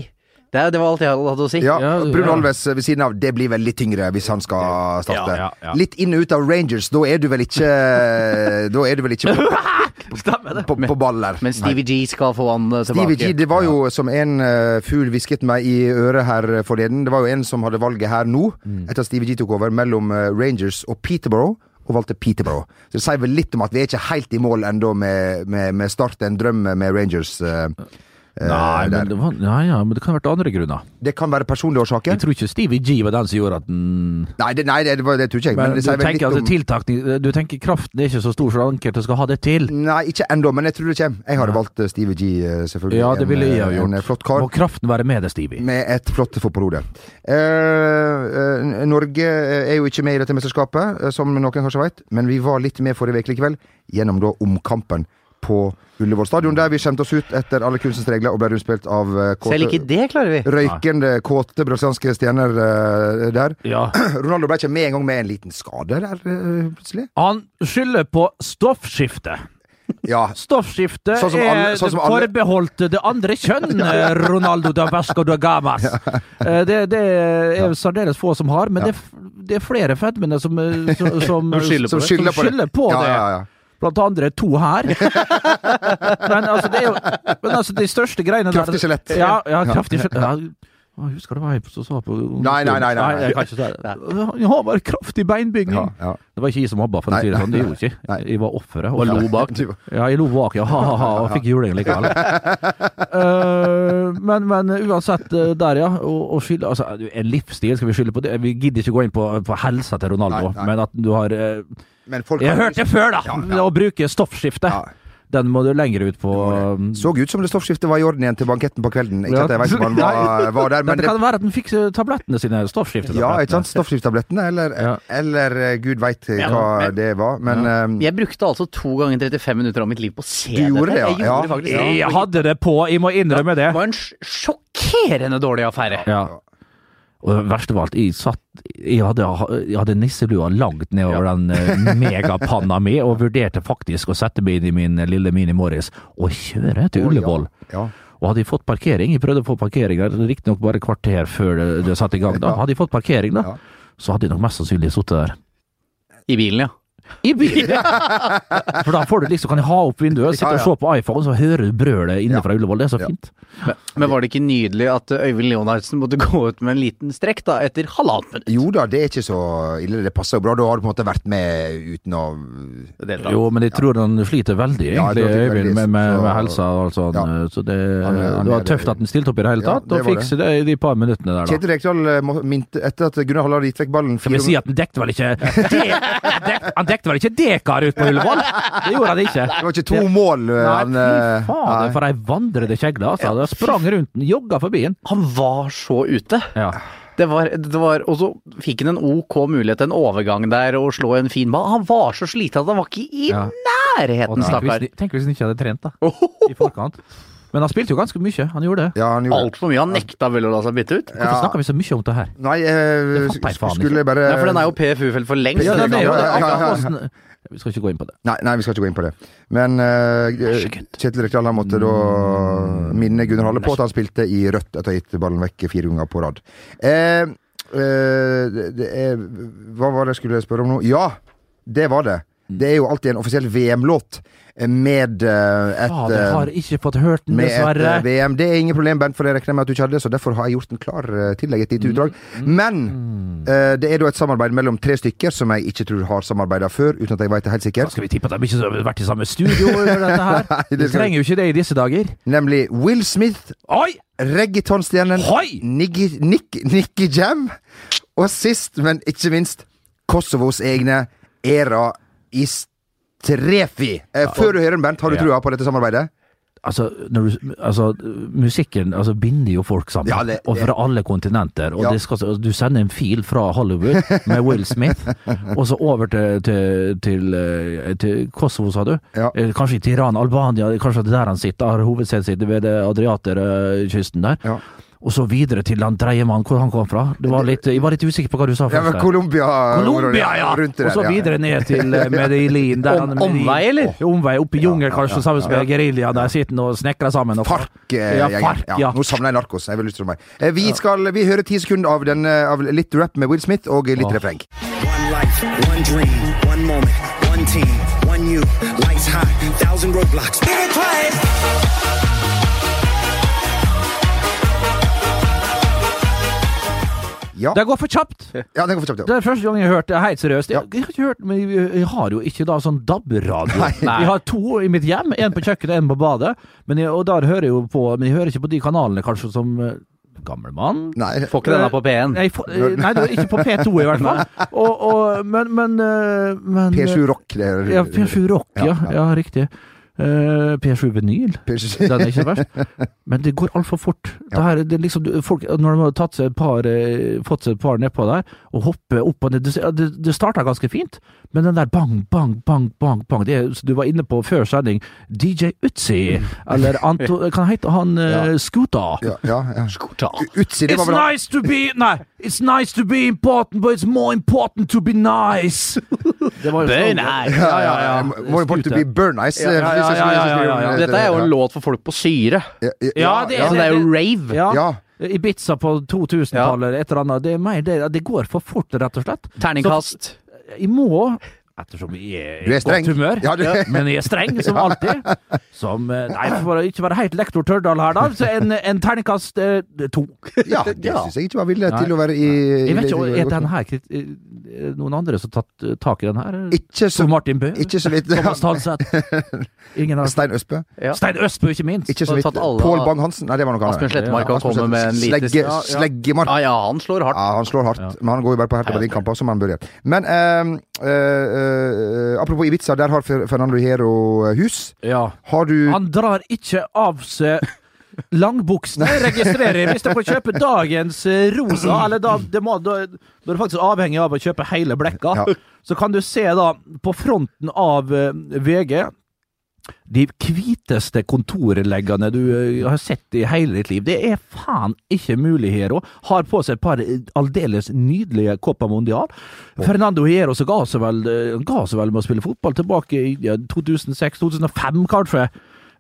[SPEAKER 4] Det, er- det var alt jeg hadde å si.
[SPEAKER 3] Ja,
[SPEAKER 2] Ja,
[SPEAKER 3] Bruno
[SPEAKER 2] ja.
[SPEAKER 3] Alves eh, ved siden av, det blir vel litt tyngre hvis han skal starte.
[SPEAKER 2] Ja, ja, ja.
[SPEAKER 3] Litt inn og ut av Rangers, da er du vel ikke eh, Da er du vel ikke på,
[SPEAKER 2] Stemmer det.
[SPEAKER 3] på, på ball der.
[SPEAKER 4] Men Stevie G skal få han eh, tilbake.
[SPEAKER 3] Stevie G, det var jo som en uh, fugl hvisket meg i øret her eh, forleden. Det var jo en som hadde valget her nå,
[SPEAKER 2] Mm.
[SPEAKER 3] etter at Stevie G tok over, mellom eh, Rangers og Peterborough. Og valgte Peterborough. Så det sier vel litt om at vi er ikke helt i mål ennå med, med, med Start en drøm med Rangers. eh, eh,
[SPEAKER 2] Nei,
[SPEAKER 3] der.
[SPEAKER 2] men det, var, ja, ja, men det kan ha vært andre grunner.
[SPEAKER 3] Det kan være personlige
[SPEAKER 2] Jeg
[SPEAKER 3] årsaker.
[SPEAKER 2] tror ikke Stevie G var den som gjorde at den
[SPEAKER 3] Nei, det, nei, det, det, var- det tror ikke jeg. Men,
[SPEAKER 2] men du,
[SPEAKER 3] det sier vel litt
[SPEAKER 2] tenker, altså,
[SPEAKER 3] om
[SPEAKER 2] tiltakning- du tenker kraften er ikke så stor som enkelte skal ha det til.
[SPEAKER 3] Nei, ikke ennå, men jeg tror det kommer. Jeg hadde valgt eh, Stevie G, eh, selvfølgelig.
[SPEAKER 2] Ja, det ville jeg ha
[SPEAKER 3] En, eh,
[SPEAKER 2] gjort.
[SPEAKER 3] En eh, flott kar.
[SPEAKER 2] Må kraften være med deg, Stevie?
[SPEAKER 3] Med et flott fotballhode. Eh, eh, Norge eh, er jo ikke med i dette mesterskapet, eh, som noen kanskje vet, men vi var litt med forrige uke likevel, gjennom da omkampen på Ullevål stadion, der vi skjemte oss ut etter alle kunstens regler og ble rundspilt av eh, kåte-
[SPEAKER 4] Selv ikke det klarer vi.
[SPEAKER 3] røykende kåte brasilianske stjerner eh, der.
[SPEAKER 2] Ja.
[SPEAKER 3] Ronaldo ble ikke med engang med en liten skade der, eh, plutselig.
[SPEAKER 2] Han skylder på stoffskifte.
[SPEAKER 3] Ja,
[SPEAKER 2] Stoffskifte
[SPEAKER 3] Sånn som alle-
[SPEAKER 2] er
[SPEAKER 3] sånn som alle-
[SPEAKER 2] forbeholdt det andre kjønn, Eh, Ronaldo da Vasco da Gamas. Eh, Det, det er særdeles få som har, men det, det er flere fedmene som, eh, som, som,
[SPEAKER 4] Som skylder på
[SPEAKER 2] som
[SPEAKER 4] det.
[SPEAKER 2] skylder på det.
[SPEAKER 3] Ja, ja, ja.
[SPEAKER 2] Blant andre to her. men altså, det er jo Men altså, de største greiene der-
[SPEAKER 3] Kraftig skjelett.
[SPEAKER 2] Ja, ja, kraftig skjelett. Ja. Å, Husker du hva jeg som sa på
[SPEAKER 3] Nei, nei, nei, nei, nei.
[SPEAKER 2] jeg kan ikke si det. Jeg har bare kraftig beinbygning.
[SPEAKER 3] Ja, ja.
[SPEAKER 2] Det var ikke jeg som hobba, for å
[SPEAKER 3] Nei,
[SPEAKER 2] si det sånn. Det
[SPEAKER 3] nei,
[SPEAKER 2] gjorde jeg ikke. Jeg var offeret.
[SPEAKER 4] Og lo bak.
[SPEAKER 3] Du-
[SPEAKER 2] Ja, jeg lo bak, ja. Ha, ha, ha. Og fikk juling likevel. Eh, men, men uansett, eh, der, ja. Og, og skyld, altså, en livsstil skal vi skylde på. det Vi gidder ikke gå inn på, på helsa til Ronaldo,
[SPEAKER 3] Nei, nei.
[SPEAKER 2] men at du har eh,
[SPEAKER 3] Men folk
[SPEAKER 2] Jeg hørte det før, da!
[SPEAKER 3] Ja, ja.
[SPEAKER 2] Å bruke stoffskifte.
[SPEAKER 3] Ja.
[SPEAKER 2] Den må du lenger ut på. um,
[SPEAKER 3] Så ut som det stoffskiftet var i orden igjen til banketten på kvelden. Ikke at jeg vet om han var, var der, men
[SPEAKER 2] Dette
[SPEAKER 3] det,
[SPEAKER 2] kan være at den fikk eh, tablettene sine, stoffskiftetablettene.
[SPEAKER 3] ja, ikke sant? Stoffskiftetablettene, eller,
[SPEAKER 2] Ja.
[SPEAKER 3] eller eh, gud veit hva
[SPEAKER 4] men-
[SPEAKER 3] det var. Men eh,
[SPEAKER 4] Jeg brukte altså to ganger 35 minutter av mitt liv på å se
[SPEAKER 3] Du gjorde det, ja.
[SPEAKER 4] Jeg
[SPEAKER 3] Ja.
[SPEAKER 4] gjorde det faktisk.
[SPEAKER 2] Jeg hadde det på, jeg må innrømme det.
[SPEAKER 4] Det var en sj- sjokkerende dårlig affære.
[SPEAKER 2] Ja. Og det verste av alt, jeg, satt, jeg, hadde, jeg hadde nisselua langt nedover den eh, megapanna mi, og vurderte faktisk å sette meg inn i min eh, lille Mini Morris og kjøre til Ullevål.
[SPEAKER 3] ja.
[SPEAKER 2] Og hadde jeg fått parkering, jeg prøvde å få parkering der, riktignok bare et kvarter før det, det satte i gang, da. Hadde jeg fått parkering, da,
[SPEAKER 3] Ja.
[SPEAKER 2] så hadde jeg nok mest sannsynlig sittet der.
[SPEAKER 4] I bilen, ja.
[SPEAKER 2] I bilen! For da får du liksom, kan jeg ha opp vinduet, sitte og se på iPhone, så hører du brølet inne fra Ullevål. Det er så fint.
[SPEAKER 4] Men var det ikke nydelig at eh, Øyvind Leonardsen måtte gå ut med en liten strekk da, etter halvannet minutt?
[SPEAKER 3] Jo da, det er ikke så ille. Det passer jo bra. Da har du på en måte vært med uten å
[SPEAKER 2] Jo, men jeg tror han sliter veldig, egentlig,
[SPEAKER 3] Ja, jeg tror han sliter
[SPEAKER 2] Øyvind, med, med,
[SPEAKER 3] veldig, så-
[SPEAKER 2] med helsa. Altså,
[SPEAKER 3] Ja.
[SPEAKER 2] Så det,
[SPEAKER 3] Han er- han
[SPEAKER 2] det
[SPEAKER 3] er-
[SPEAKER 2] var tøft at han stilte opp i det hele
[SPEAKER 3] Ja,
[SPEAKER 2] tatt,
[SPEAKER 3] det
[SPEAKER 2] og
[SPEAKER 3] var
[SPEAKER 2] fikse det i de par minuttene der, da.
[SPEAKER 3] Kjetil Rekdal eh, må- minte etter at Gunnar Hallar gitt vekk ballen
[SPEAKER 2] Skal vi si at han dekte vel ikke de, dek, Han dekte vel ikke dekar ut på Ullevål? Det gjorde han ikke.
[SPEAKER 3] Det var ikke to mål. eh, han,
[SPEAKER 2] Nei,
[SPEAKER 3] eh,
[SPEAKER 2] fy fader, for ei vandrende kjegle, altså. Da sprang rundt den, jogga forbi den.
[SPEAKER 4] Han var så ute.
[SPEAKER 2] Ja.
[SPEAKER 4] Det var, det var, og så fikk han en ok mulighet, en overgang der, og slå en fin ball. Han var så sliten at han var ikke i
[SPEAKER 2] Ja. Og
[SPEAKER 4] nærheten,
[SPEAKER 2] tenk,
[SPEAKER 4] stakkar.
[SPEAKER 2] hvis, tenk hvis han ikke hadde trent, da. I forkant. Men han spilte jo ganske mye. Han gjorde det.
[SPEAKER 3] ja, han gjorde det.
[SPEAKER 4] Altfor mye. Han nekta vel å la seg bytte ut.
[SPEAKER 2] Hvorfor snakker vi så mye om det her?
[SPEAKER 3] Nei, eh,
[SPEAKER 2] Det fatter jeg faen
[SPEAKER 3] skulle
[SPEAKER 2] ikke.
[SPEAKER 3] bare
[SPEAKER 4] Nei, for den er jo PFU-felt for lengst.
[SPEAKER 3] Ja,
[SPEAKER 2] Ja,
[SPEAKER 3] den
[SPEAKER 2] det er jo det.
[SPEAKER 3] Ja, ja, ja.
[SPEAKER 2] Akkurat hvordan- Vi skal ikke gå inn på det.
[SPEAKER 3] Nei, nei, vi skal ikke gå inn på det. Men eh, Kjetil Rekdal han måtte da minne Gunnar Halle på at han spilte i rødt etter å ha gitt ballen vekk fire ganger på rad. Eh, eh, det- det er, hva var det jeg skulle spørre om nå? Ja, det var det.
[SPEAKER 2] Mm.
[SPEAKER 3] Det er jo alltid en offisiell VM-låt med eh, et
[SPEAKER 2] Fader,
[SPEAKER 3] eh,
[SPEAKER 2] har ikke fått hørt den,
[SPEAKER 3] med et eh,
[SPEAKER 2] dessverre.
[SPEAKER 3] VM. Det er ingen problem, Bent, for det regner jeg med at du ikke hadde, så derfor har jeg gjort den klar eh, til deg i et
[SPEAKER 2] Mm.
[SPEAKER 3] lite utdrag. Men eh, det er da et samarbeid mellom tre stykker som jeg ikke tror har samarbeida før, uten at jeg veit det helt sikkert.
[SPEAKER 2] Skal vi tippe at de ikke har vært i samme studio? Eller dette her?
[SPEAKER 3] det
[SPEAKER 2] Vi
[SPEAKER 3] skal vi-
[SPEAKER 2] trenger jo ikke det i disse dager.
[SPEAKER 3] Nemlig Will Smith,
[SPEAKER 2] Oi!
[SPEAKER 3] reggaetonstjernen
[SPEAKER 2] Hoi!
[SPEAKER 3] Nicky, Nick, Nicky Jam, og sist, men ikke minst, Kosovos egne Era Istrefi. Eh, Før du hører den, Bent, har du
[SPEAKER 2] Ja.
[SPEAKER 3] trua på dette samarbeidet?
[SPEAKER 2] Altså, når du, altså, musikken altså, binder jo folk sammen,
[SPEAKER 3] Ja, det-
[SPEAKER 2] og
[SPEAKER 3] det-
[SPEAKER 2] fra alle kontinenter. Og
[SPEAKER 3] Ja.
[SPEAKER 2] det skal, altså, du sender en fil fra Hollywood med Will Smith, og så over til, til, til, eh, til Kosovo, sa du?
[SPEAKER 3] Ja.
[SPEAKER 2] Eh, Kanskje i Tiran, Albania, kanskje det er der han sitter, har hovedsetet sitt ved eh, Adriaterkysten der.
[SPEAKER 3] Ja.
[SPEAKER 2] Og så videre til han tredjemann, hvor han kom fra. Det var litt, jeg var litt usikker på hva du sa
[SPEAKER 3] Ja, men
[SPEAKER 2] først. der.
[SPEAKER 3] Colombia
[SPEAKER 2] Colombia, ja!
[SPEAKER 3] rundt det
[SPEAKER 2] Og så
[SPEAKER 3] der, ja.
[SPEAKER 2] videre ned til eh, Medellin. der
[SPEAKER 4] Om-
[SPEAKER 2] han-
[SPEAKER 4] omvei, eller?
[SPEAKER 2] Ja, Omvei, oppe i jungel, kanskje, sammen med geriljaen der sitter og snekrer sammen. Og
[SPEAKER 3] Fark-gjengen.
[SPEAKER 2] Ja, Farc, ja.
[SPEAKER 3] Nå samler jeg narkos. Jeg vil lyst til meg. Eh, Vi, skal, vi hører ti sekunder av, den, eh, av litt rap med Will Smith og litt refreng.
[SPEAKER 6] One life, one dream, one moment, one team, one you. Lights high, thousand roadblocks. Give it twice.
[SPEAKER 3] Ja,
[SPEAKER 2] Det går for kjapt!
[SPEAKER 3] ja den går for kjapt.
[SPEAKER 2] Det
[SPEAKER 3] ja.
[SPEAKER 2] er første gang jeg har hørt det, helt seriøst. Jeg,
[SPEAKER 3] Ja.
[SPEAKER 2] jeg har ikke hørt, men jeg, jeg har jo ikke da sånn DAB-radio.
[SPEAKER 4] Nei.
[SPEAKER 2] Jeg har to i mitt hjem, én på kjøkkenet, én på badet. Men jeg, og der hører jeg jo på Men jeg hører ikke på de kanalene, kanskje, som eh, Gammel mann?
[SPEAKER 3] Nei.
[SPEAKER 4] Får ikke denne på P1.
[SPEAKER 2] Nei, for, eh, nei, det var ikke på P2 i hvert fall. Og, og, men, men, eh, men
[SPEAKER 3] P7 Rock. Det er,
[SPEAKER 2] Ja, P7 Rock, ja. Ja, riktig. Eh, P7 Vinyl.
[SPEAKER 3] P7.
[SPEAKER 2] Den er ikke verst. Men det går altfor fort. Det her, det er liksom, du- folk, når de har tatt seg et par, eh, fått seg et par nedpå der, og hopper opp og ned Du ser- ja, Det, det starta ganske fint, men den der bang, bang, bang, bang, bang det er, som Du var inne på før sending, DJ Utsi, eller Anto, kan hete han uh, Scooter.
[SPEAKER 3] Mm. Ja, ja, ja.
[SPEAKER 4] Skorta.
[SPEAKER 3] Utsi, det
[SPEAKER 2] It's
[SPEAKER 3] var vel han.
[SPEAKER 2] nice to be Nei! It's nice to be important, but it's more important to be nice! Det var jo
[SPEAKER 4] Be
[SPEAKER 2] sånn-
[SPEAKER 4] nice.
[SPEAKER 2] Ja, ja, ja.
[SPEAKER 3] More important to be burn ice.
[SPEAKER 2] Ja, ja, ja, ja, ja, ja, ja.
[SPEAKER 4] Dette er jo en låt for folk på syre.
[SPEAKER 3] Ja,
[SPEAKER 2] Ja, det er
[SPEAKER 4] Så det er jo
[SPEAKER 2] det-
[SPEAKER 4] rave.
[SPEAKER 2] Ja.
[SPEAKER 3] Ja.
[SPEAKER 2] Ibiza på 2000-tallet, et eller annet. Det er mer det. Det går for fort, rett og slett.
[SPEAKER 4] Terningkast.
[SPEAKER 2] Jeg må Ettersom jeg er
[SPEAKER 3] Du
[SPEAKER 2] i
[SPEAKER 3] er streng.
[SPEAKER 2] godt humør,
[SPEAKER 3] Ja, du-
[SPEAKER 2] men jeg er streng, som alltid. Som eh, Nei, for å ikke være helt lektor Tørdal her, da. Så en, en terningkast eh, to.
[SPEAKER 3] Ja, det
[SPEAKER 4] Ja.
[SPEAKER 3] syns jeg ikke var villig til å være i
[SPEAKER 2] Jeg vet ikke,
[SPEAKER 3] i- i-
[SPEAKER 2] Er den her krit- eh, noen andre som har tatt eh, tak i den her?
[SPEAKER 3] Ikke så
[SPEAKER 2] Tor Martin Bø?
[SPEAKER 3] Ikke så vidt.
[SPEAKER 2] Thomas Tanseth? Ingen av
[SPEAKER 3] Stein Østbø.
[SPEAKER 4] Ja.
[SPEAKER 2] Stein Østbø, ikke minst!
[SPEAKER 3] Ikke så
[SPEAKER 4] Har
[SPEAKER 3] vidt.
[SPEAKER 4] tatt alle-
[SPEAKER 3] Pål Bang-Hansen. Nei, det var noe annet.
[SPEAKER 4] Asbjørn Slettemark har
[SPEAKER 3] Asbjørn
[SPEAKER 4] kommet med en liten
[SPEAKER 3] Slegge,
[SPEAKER 4] Ja,
[SPEAKER 3] Sleggemark.
[SPEAKER 4] ja, han slår hardt.
[SPEAKER 3] Ja, han slår hardt, men han går jo bare på Hertha Berlin-kamper, som han bør gjøre. Men ehm, eh, eh, apropos Ibiza, der har Fer- Fernando Hero hus.
[SPEAKER 2] Ja.
[SPEAKER 3] Har du
[SPEAKER 2] Han drar ikke av seg langbuksene, registrerer jeg. Hvis jeg får kjøpe dagens eh, rosa, eller da, det må, da, da er du faktisk avhengig av å kjøpe hele blekka,
[SPEAKER 3] Ja.
[SPEAKER 2] så kan du se da på fronten av eh, VG de hviteste kontorleggene du eh, har sett i hele ditt liv. Det er faen ikke mulig, Hero. Har på seg et par eh, aldeles nydelige Copa Mondial. Fernando Hero så ga seg vel, eh, ga seg vel med å spille fotball tilbake i ja, 2006-2005, kanskje.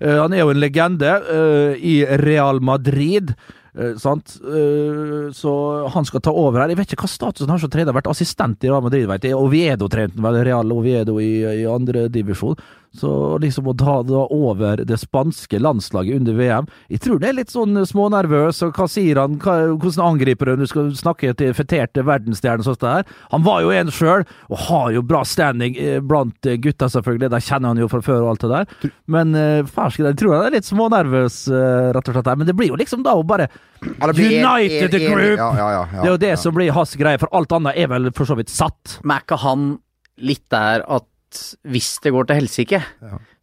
[SPEAKER 2] Eh, han er jo en legende eh, i Real Madrid. eh, sant? Eh, så han skal ta over her. Jeg vet ikke hva statusen har som trener. Vært assistent i Real Madrid, vet jeg. Oviedo trente han vel, Real Oviedo i, i andre divisjon. Så liksom å ta da over det spanske landslaget under VM Jeg tror det er litt sånn smånervøs, og hva sier han? Hva, hvordan angriper han? Du skal snakke til feterte verdensstjerner sånn som det her. Han var jo en sjøl, og har jo bra standing eh, blant eh, gutta, selvfølgelig. De kjenner han jo fra før og alt det der. Men eh, fersken, jeg tror han er litt smånervøs, eh, rett og slett. her. Men det blir jo liksom da å bare
[SPEAKER 3] Eller blir en-
[SPEAKER 2] United
[SPEAKER 3] en- en-
[SPEAKER 2] Group!
[SPEAKER 3] Ja, ja, ja, ja,
[SPEAKER 2] Det er jo det
[SPEAKER 3] ja.
[SPEAKER 2] som blir hans greie, for alt annet er vel for så vidt satt.
[SPEAKER 4] Men er ikke han litt der at hvis det går til helsike,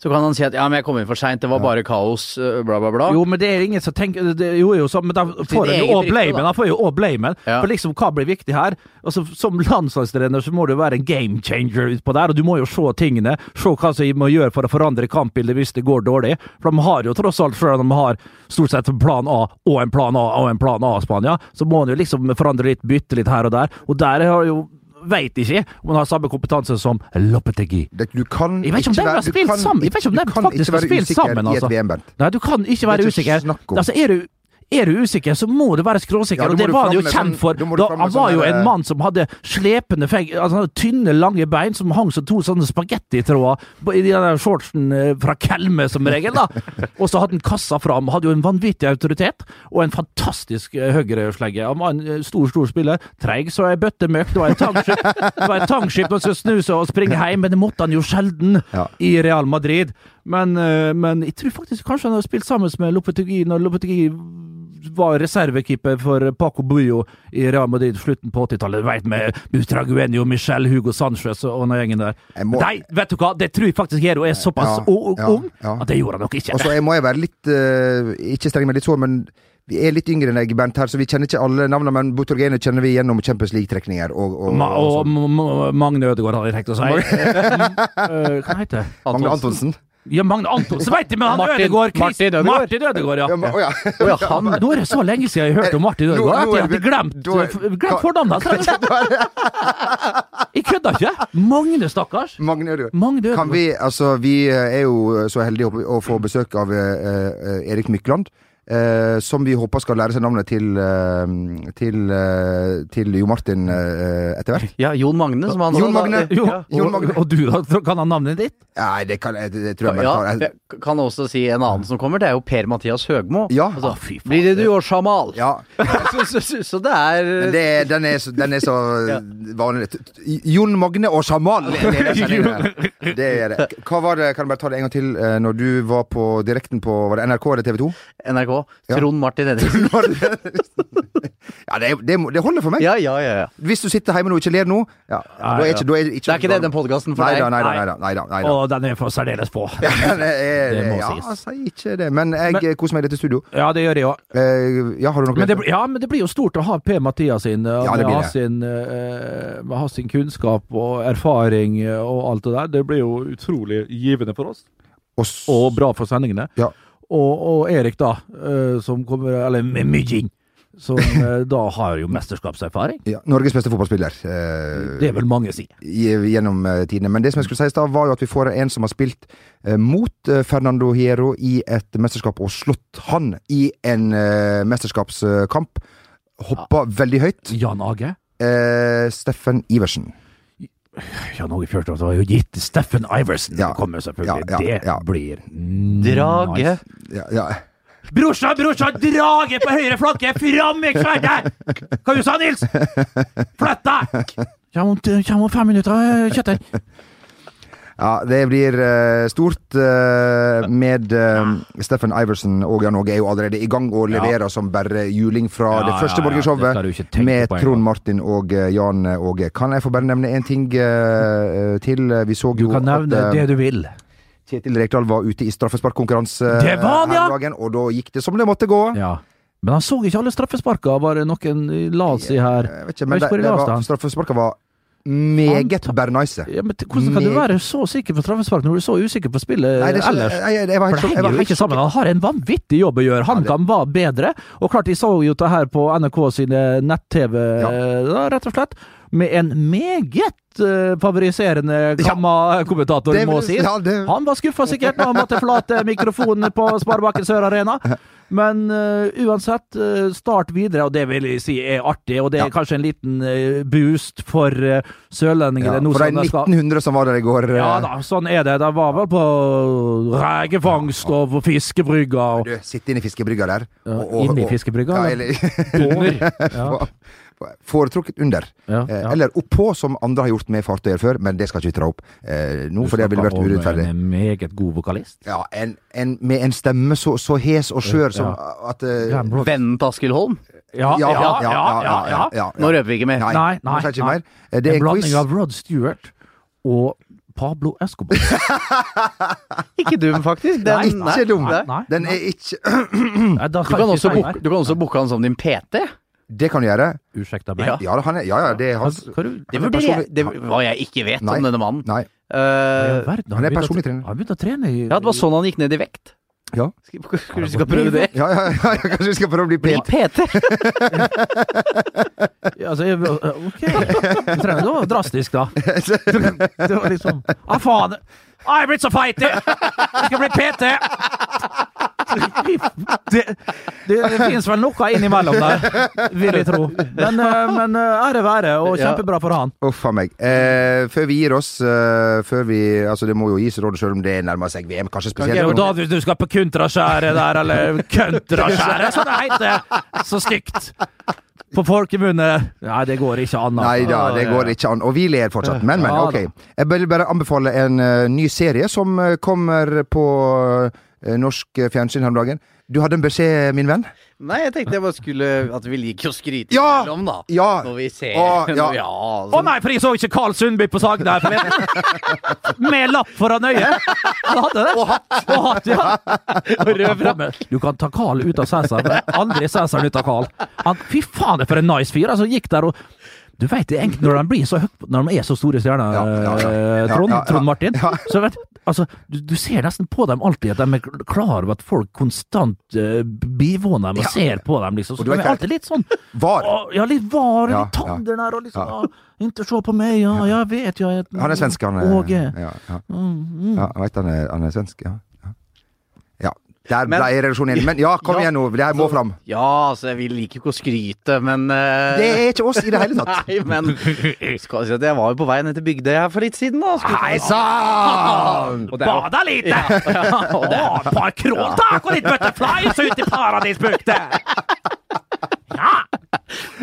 [SPEAKER 4] så kan han si at ja, men jeg kom inn for seint, det var bare kaos, øh, bla, bla, bla.
[SPEAKER 2] Jo, men det er ingen som tenker det, Jo, jo, så, men da får han
[SPEAKER 4] eget
[SPEAKER 2] jo òg
[SPEAKER 4] rykte,
[SPEAKER 2] blamen.
[SPEAKER 4] da.
[SPEAKER 2] Han får jo også blamen.
[SPEAKER 4] Ja.
[SPEAKER 2] For liksom, hva blir viktig her? Altså, som landslagstrener så må du være en game changer utpå der, og du må jo se tingene. Se hva som må gjøre for å forandre kampbildet hvis det går dårlig. For de har jo tross alt, selv om de har stort sett en plan A og en plan A og en plan A i Spania, så må han jo liksom forandre litt, bytte litt her og der. Og der har jo Veit ikke om han har samme kompetanse som Lopetegui.
[SPEAKER 3] det, Du kan
[SPEAKER 2] Jeg vet ikke om de har
[SPEAKER 3] være- du
[SPEAKER 2] spilt
[SPEAKER 3] kan
[SPEAKER 2] sammen. Jeg vet ikke om
[SPEAKER 3] ikke-
[SPEAKER 2] de
[SPEAKER 3] du kan
[SPEAKER 2] faktisk
[SPEAKER 3] ikke
[SPEAKER 2] har
[SPEAKER 3] være
[SPEAKER 2] spilt
[SPEAKER 3] usikker
[SPEAKER 2] sammen, altså.
[SPEAKER 3] I et VM, Bent.
[SPEAKER 2] Nei, du kan ikke være
[SPEAKER 3] Det er ikke
[SPEAKER 2] usikker.
[SPEAKER 3] snakk om.
[SPEAKER 2] Altså, er du er du usikker, så må du være skråsikker,
[SPEAKER 3] Ja, da
[SPEAKER 2] og
[SPEAKER 3] må
[SPEAKER 2] det
[SPEAKER 3] du
[SPEAKER 2] var han jo
[SPEAKER 3] fram med
[SPEAKER 2] kjent
[SPEAKER 3] sånn-
[SPEAKER 2] for.
[SPEAKER 3] da må du
[SPEAKER 2] Da,
[SPEAKER 3] fram
[SPEAKER 2] han
[SPEAKER 3] med
[SPEAKER 2] var
[SPEAKER 3] sånn
[SPEAKER 2] jo
[SPEAKER 3] der,
[SPEAKER 2] en
[SPEAKER 3] eh,
[SPEAKER 2] mann som hadde slepende feng... Altså, han hadde tynne, lange bein som hang som to sånne spagettitråder på- i den der shortsen eh, fra Kelme, som regel, da. Og så hadde han kassa fram. Hadde jo en vanvittig autoritet, og en fantastisk eh, høyreslegge. Han var en eh, stor, stor spiller. Treig så ei bøtte møkk. Det var et tangskip, det var et tangskip man skulle snu seg og springe hjem, men det måtte han jo sjelden
[SPEAKER 3] Ja.
[SPEAKER 2] i Real Madrid. Men, eh, men jeg tror faktisk kanskje han har spilt sammen med Lopetegui når Lopetegui var reservekeeper for Paco Buyo i Real Madrid slutten på 80-tallet. Du vet med Butraguenio, Michel, Hugo Sanchez og og den gjengen der.
[SPEAKER 3] Jeg må-
[SPEAKER 2] Nei, vet du hva! Det tror jeg faktisk Hero er såpass
[SPEAKER 3] Ja,
[SPEAKER 2] o- o-
[SPEAKER 3] ja,
[SPEAKER 2] ung
[SPEAKER 3] ja.
[SPEAKER 2] at det gjorde han nok ikke.
[SPEAKER 3] Og så jeg må jeg være litt eh, Ikke streng, men litt sår, men vi er litt yngre enn deg, Bernt, her, så vi kjenner ikke alle navnene, men Butorgene kjenner vi gjennom Champions League-trekninger. Og, og,
[SPEAKER 2] Ma og
[SPEAKER 3] sånn.
[SPEAKER 2] M- M- Magne Ødegaard hadde jeg tenkt å si. Eh, Hva heter det?
[SPEAKER 3] Magne Antonsen.
[SPEAKER 2] Ja, Magne Antonsen, veit jeg, men han
[SPEAKER 4] Martin-
[SPEAKER 2] Ødegaard Chris-
[SPEAKER 4] Martin Ødegaard.
[SPEAKER 2] Martin Ødegaard, ja.
[SPEAKER 3] Ja, men, å, ja.
[SPEAKER 4] Å ja, han
[SPEAKER 2] Nå er det så lenge siden jeg hørte om Martin
[SPEAKER 3] Nå-
[SPEAKER 2] Ødegaard
[SPEAKER 3] nå
[SPEAKER 2] at
[SPEAKER 3] er
[SPEAKER 2] jeg hadde
[SPEAKER 3] vi-
[SPEAKER 2] glemt,
[SPEAKER 3] da er-
[SPEAKER 2] f- glemt fornavnet hans. Jeg kødder ikke! Magne, stakkars.
[SPEAKER 3] Magne Ødegaard.
[SPEAKER 2] Magne Ødegaard.
[SPEAKER 3] Kan vi, altså, vi eh, er jo så heldige å å få besøk av eh, eh, Erik Mykland. eh, som vi håper skal lære seg navnet til, eh, til, eh, til Jo Martin eh, etter hvert.
[SPEAKER 4] Ja, Jon Magne, som han
[SPEAKER 3] Jon Magne.
[SPEAKER 2] Jo,
[SPEAKER 4] Ja.
[SPEAKER 3] Jon
[SPEAKER 2] og,
[SPEAKER 3] Magne.
[SPEAKER 2] og du, da? Kan han navnet ditt?
[SPEAKER 3] Nei, det, kan, jeg- det, det tror jeg
[SPEAKER 4] Ja,
[SPEAKER 3] bare
[SPEAKER 4] jeg
[SPEAKER 3] tar.
[SPEAKER 4] kan også si en annen som kommer, det er jo Per-Mathias Høgmo.
[SPEAKER 3] Ja.
[SPEAKER 4] Altså,
[SPEAKER 3] Ah,
[SPEAKER 2] fy faen.
[SPEAKER 4] blir det du og Shamal?
[SPEAKER 3] Ja,
[SPEAKER 4] så, så, så, så det er
[SPEAKER 3] men det, er- den er så, den er så vanlig. T- t- Jon Magne og Shamal! Det er det, jeg kjenner. det er det. Hva var det, kan du bare ta det en gang til, eh, når du var på direkten på var det NRK eller TV 2?
[SPEAKER 4] NRK.
[SPEAKER 3] Ja.
[SPEAKER 4] Trond Martin Henriksen.
[SPEAKER 3] Ja, det, det, må- det holder for meg.
[SPEAKER 4] Ja, ja, ja, ja.
[SPEAKER 3] Hvis du sitter hjemme nå og ikke ler nå ja, da er ikke, da er ikke,
[SPEAKER 4] Det er ikke det den podcasten for
[SPEAKER 3] nei,
[SPEAKER 4] deg.
[SPEAKER 3] Da, nei, da, nei da. Nei, da, nei, da.
[SPEAKER 2] Å, den er for særdeles på.
[SPEAKER 3] det, er,
[SPEAKER 2] Det må
[SPEAKER 3] ja,
[SPEAKER 2] sies.
[SPEAKER 3] si ikke det. Men jeg eh, koser meg i dette studio.
[SPEAKER 2] Ja, det gjør jeg òg.
[SPEAKER 3] Eh, ja, har du noe
[SPEAKER 2] Men det,
[SPEAKER 3] mer?
[SPEAKER 2] blir- ja, men det blir jo stort å ha Per-Mathias inn, og
[SPEAKER 3] Ja, det blir
[SPEAKER 2] ha,
[SPEAKER 3] det.
[SPEAKER 2] sin, eh, med ha sin kunnskap og erfaring eh, og alt det der. Det blir jo utrolig givende for oss,
[SPEAKER 3] Og s-
[SPEAKER 2] og bra for sendingene.
[SPEAKER 3] Ja.
[SPEAKER 2] Og, og Erik, da, eh, som kommer Eller Mygging, som eh, da har jo mesterskapserfaring.
[SPEAKER 3] Ja, Norges beste fotballspiller eh,
[SPEAKER 2] Det vil mange si.
[SPEAKER 3] i- gjennom eh, tidene. Men det som jeg skulle si i stad, var jo at vi får en som har spilt eh, mot eh, Fernando Hierro i et mesterskap, og slått han i en eh, mesterskapskamp. Hoppa veldig høyt.
[SPEAKER 2] Jan Age.
[SPEAKER 3] Eh, Steffen Iversen.
[SPEAKER 2] Jan Åge Fjørtoft var jo gitt Steffen Iversen.
[SPEAKER 3] Ja.
[SPEAKER 2] Det kommer selvfølgelig.
[SPEAKER 3] Ja, ja, ja.
[SPEAKER 2] Det blir
[SPEAKER 4] Drage.
[SPEAKER 2] nice.
[SPEAKER 3] Ja, ja.
[SPEAKER 2] Brorsan, brorsan, drage på høyre flanke! Fram med sverdet! Hva du sa Nils? Flytt deg! Kjem om, kjem om fem minutter, eh, Kjetil.
[SPEAKER 3] Ja, det blir eh, stort eh, med eh, Steffen Iversen og Jan Åge er jo allerede i gang og leverer som bare juling fra
[SPEAKER 2] Ja,
[SPEAKER 3] det første
[SPEAKER 2] ja, ja, det skal du ikke
[SPEAKER 3] borgershowet
[SPEAKER 2] tenke
[SPEAKER 3] med
[SPEAKER 2] på engang.
[SPEAKER 3] Trond Martin og eh, Jan Åge. Kan jeg få bare nevne én ting eh, til? Vi så
[SPEAKER 2] Du
[SPEAKER 3] jo
[SPEAKER 2] kan nevne
[SPEAKER 3] at eh,
[SPEAKER 2] det du vil.
[SPEAKER 3] Kjetil Rekdal var ute i straffesparkkonkurranse eh,
[SPEAKER 2] Det var han,
[SPEAKER 3] her
[SPEAKER 2] ja!
[SPEAKER 3] om dagen, og da gikk det som det måtte gå.
[SPEAKER 2] Ja. Men han så ikke alle straffesparka, bare noen la seg her.
[SPEAKER 3] Jeg vet ikke,
[SPEAKER 2] Jeg
[SPEAKER 3] men
[SPEAKER 2] vet
[SPEAKER 3] det,
[SPEAKER 2] ikke hvor
[SPEAKER 3] det
[SPEAKER 2] lavt
[SPEAKER 3] var,
[SPEAKER 2] han.
[SPEAKER 3] straffesparka var meget
[SPEAKER 2] Anta-
[SPEAKER 3] bernice.
[SPEAKER 2] Ja, men t- hvordan kan du
[SPEAKER 3] Meg-
[SPEAKER 2] være så sikker på straffespark når du er så usikker på spillet
[SPEAKER 3] Nei, det er ikke-
[SPEAKER 2] ellers?
[SPEAKER 3] jeg- jeg- jeg var helt
[SPEAKER 2] For
[SPEAKER 3] sjokk-
[SPEAKER 2] det
[SPEAKER 3] jeg var
[SPEAKER 2] henger jo
[SPEAKER 3] helt sånn-
[SPEAKER 2] ikke sammen. Han har en vanvittig jobb å gjøre.
[SPEAKER 3] Ja, det-
[SPEAKER 2] HamKam var bedre, og klart de så jo det her på NRK sine nett-TV,
[SPEAKER 3] Ja.
[SPEAKER 2] eh, da, rett og slett, med en meget eh, favoriserende Kamma-kommentator,
[SPEAKER 3] Det
[SPEAKER 2] må
[SPEAKER 3] vil-
[SPEAKER 2] sies.
[SPEAKER 3] ja, det-
[SPEAKER 2] Han var skuffa sikkert når han måtte forlate mikrofonen på Sparebakken Sør Arena, men eh, uansett, eh, start videre, og det vil jeg si er artig, og det er
[SPEAKER 3] Ja.
[SPEAKER 2] kanskje en liten eh, boost for eh, sørlendinger.
[SPEAKER 3] Ja,
[SPEAKER 2] nå
[SPEAKER 3] for
[SPEAKER 2] som
[SPEAKER 3] de
[SPEAKER 2] de skal-
[SPEAKER 3] 1900 som var der i går eh,
[SPEAKER 2] ja da, sånn er det. De var vel på rekefangst og på fiskebrygga og
[SPEAKER 3] Du, sitte inne i fiskebrygga der.
[SPEAKER 2] Ja, inne i fiskebrygga,
[SPEAKER 3] Ja,
[SPEAKER 2] eller?
[SPEAKER 3] eller
[SPEAKER 2] under. Ja.
[SPEAKER 3] Foretrukket under.
[SPEAKER 2] Ja,
[SPEAKER 3] Eh,
[SPEAKER 2] ja.
[SPEAKER 3] Eller oppå, som andre har gjort med fartøyer før, men det skal ikke vi dra opp eh, nå, for det ville vært
[SPEAKER 2] Snakka om eh,
[SPEAKER 3] urettferdig.
[SPEAKER 2] En meget god vokalist.
[SPEAKER 3] Ja, en, en, med en stemme så, så hes
[SPEAKER 2] Eh,
[SPEAKER 3] og skjør som at eh,
[SPEAKER 4] Vennen til Askild Holm?
[SPEAKER 2] Ja, ja, ja. ja, ja,
[SPEAKER 3] ja,
[SPEAKER 4] Nå røper vi ikke mer.
[SPEAKER 3] Nei,
[SPEAKER 2] Nei,
[SPEAKER 3] nå sier jeg ikke
[SPEAKER 2] nei,
[SPEAKER 3] mer. Eh, Det er
[SPEAKER 2] en
[SPEAKER 3] en
[SPEAKER 2] blanding
[SPEAKER 3] quiz.
[SPEAKER 2] av Rod Stewart og Pablo Escobar.
[SPEAKER 4] Ikke dum, faktisk.
[SPEAKER 2] Nei,
[SPEAKER 4] Den,
[SPEAKER 3] Ikke dum.
[SPEAKER 2] Nei, nei,
[SPEAKER 3] Den
[SPEAKER 2] nei.
[SPEAKER 3] er ikke
[SPEAKER 2] Nei, da
[SPEAKER 4] Du kan,
[SPEAKER 2] jeg ikke
[SPEAKER 4] også
[SPEAKER 2] si
[SPEAKER 4] booke,
[SPEAKER 2] mer.
[SPEAKER 4] du kan også booke han som din PT.
[SPEAKER 3] Det kan du gjøre.
[SPEAKER 2] Ursäkta meg.
[SPEAKER 4] Ja.
[SPEAKER 3] Ja, da, han er, ja, ja, det er hans
[SPEAKER 2] Hva- hva du-
[SPEAKER 4] Det
[SPEAKER 3] er
[SPEAKER 4] vurderer jeg.
[SPEAKER 3] personlig-
[SPEAKER 4] Det hva jeg ikke vet
[SPEAKER 3] Nei.
[SPEAKER 4] om denne mannen.
[SPEAKER 3] Nei.
[SPEAKER 2] Ja,
[SPEAKER 4] Eh,
[SPEAKER 2] verden,
[SPEAKER 3] han er
[SPEAKER 2] begynte å-
[SPEAKER 3] personlig trener.
[SPEAKER 2] Han begynte å trene i
[SPEAKER 4] ja, det var sånn han gikk ned i vekt.
[SPEAKER 3] Ja.
[SPEAKER 4] Skal, skal, skal prøve det?
[SPEAKER 3] Ja, ja, ja, kanskje vi skal prøve å bli
[SPEAKER 4] Bli
[SPEAKER 3] pent.
[SPEAKER 4] PT!
[SPEAKER 2] Ja, altså, jeg, ok. Jeg trenger det var drastisk, da. Det var liksom Ah, faen! Ah, jeg er blitt så feit! Jeg Jeg skal bli PT! Det, det, det finnes vel noe innimellom der, vil jeg tro. Men, eh, men eh, ære være, og kjempebra for han.
[SPEAKER 3] Uff a meg. Eh, før vi gir oss eh, før vi, altså Det må jo gis råd selv om det nærmer seg VM, kanskje spesielt.
[SPEAKER 2] Det er jo
[SPEAKER 3] nå.
[SPEAKER 2] da du, du skal på Kuntraskjæret der, eller Køntraskjæret, som det heter! Så stygt! På folkemunne. Nei, det går ikke an. altså.
[SPEAKER 3] Nei da, det går ikke an. Og vi ler fortsatt. Men, men.
[SPEAKER 2] Ja,
[SPEAKER 3] Ok. Jeg vil bare anbefale en eh, ny serie som eh, kommer på eh, norsk eh, fjernsyn her om dagen. Du hadde en beskjed, min venn?
[SPEAKER 4] Nei, jeg tenkte jeg bare skulle At vi liker å skryte
[SPEAKER 3] Ja!
[SPEAKER 4] innimellom, da.
[SPEAKER 3] Ja!
[SPEAKER 4] Når vi ser
[SPEAKER 3] Å, ja.
[SPEAKER 4] Når- ja,
[SPEAKER 2] Å
[SPEAKER 4] altså.
[SPEAKER 2] nei, for jeg så ikke Karl Sundby på Sagene her forleden! Med lapp foran øyet! Han hadde det. Og hatt. ja. Du kan ta Karl ut av Cæsar, men aldri Cæsar ut av Karl. Han, fy faen, det er for en nice fyr! Altså, gikk der og du vet, det er egentlig, når, de blir så høyt, når de er så store stjerner,
[SPEAKER 3] Ja, ja, ja.
[SPEAKER 2] eh, Trond,
[SPEAKER 3] Ja, ja, ja.
[SPEAKER 2] Trond Martin, så vet altså, du, du ser nesten på dem alltid at de er klar over at folk konstant eh, bivåner dem og ser på dem. liksom. Så
[SPEAKER 3] du
[SPEAKER 2] de
[SPEAKER 3] vet
[SPEAKER 2] er
[SPEAKER 3] hva-
[SPEAKER 2] alltid litt sånn
[SPEAKER 3] Var.
[SPEAKER 2] Å, ja, litt var,
[SPEAKER 3] Ja,
[SPEAKER 2] litt tander der, og liksom
[SPEAKER 3] ja.
[SPEAKER 2] «Å, Ikke se på meg, ja, jeg vet jeg er
[SPEAKER 3] Han er svensk, han. eh,
[SPEAKER 2] Åge. Mm-hmm.
[SPEAKER 3] Ja, ja. ja jeg vet han er, han er svensk. Ja. ja. ja. Der
[SPEAKER 4] Men-
[SPEAKER 3] ble relasjonen igjen. Men ja, kom
[SPEAKER 4] Ja.
[SPEAKER 3] igjen nå. Det her må fram.
[SPEAKER 4] ja, altså, vi liker ikke å skryte, men eh,
[SPEAKER 3] Det er ikke oss i det hele tatt.
[SPEAKER 4] Nei, men skal jeg si at jeg var jo på vei ned til Bygdøy her for litt siden, da. Skulle-
[SPEAKER 3] Hei sann!
[SPEAKER 4] Og det er-
[SPEAKER 2] Bada lite! Å, et par kråltak og litt butterflies ut i paradisbukta! Ja!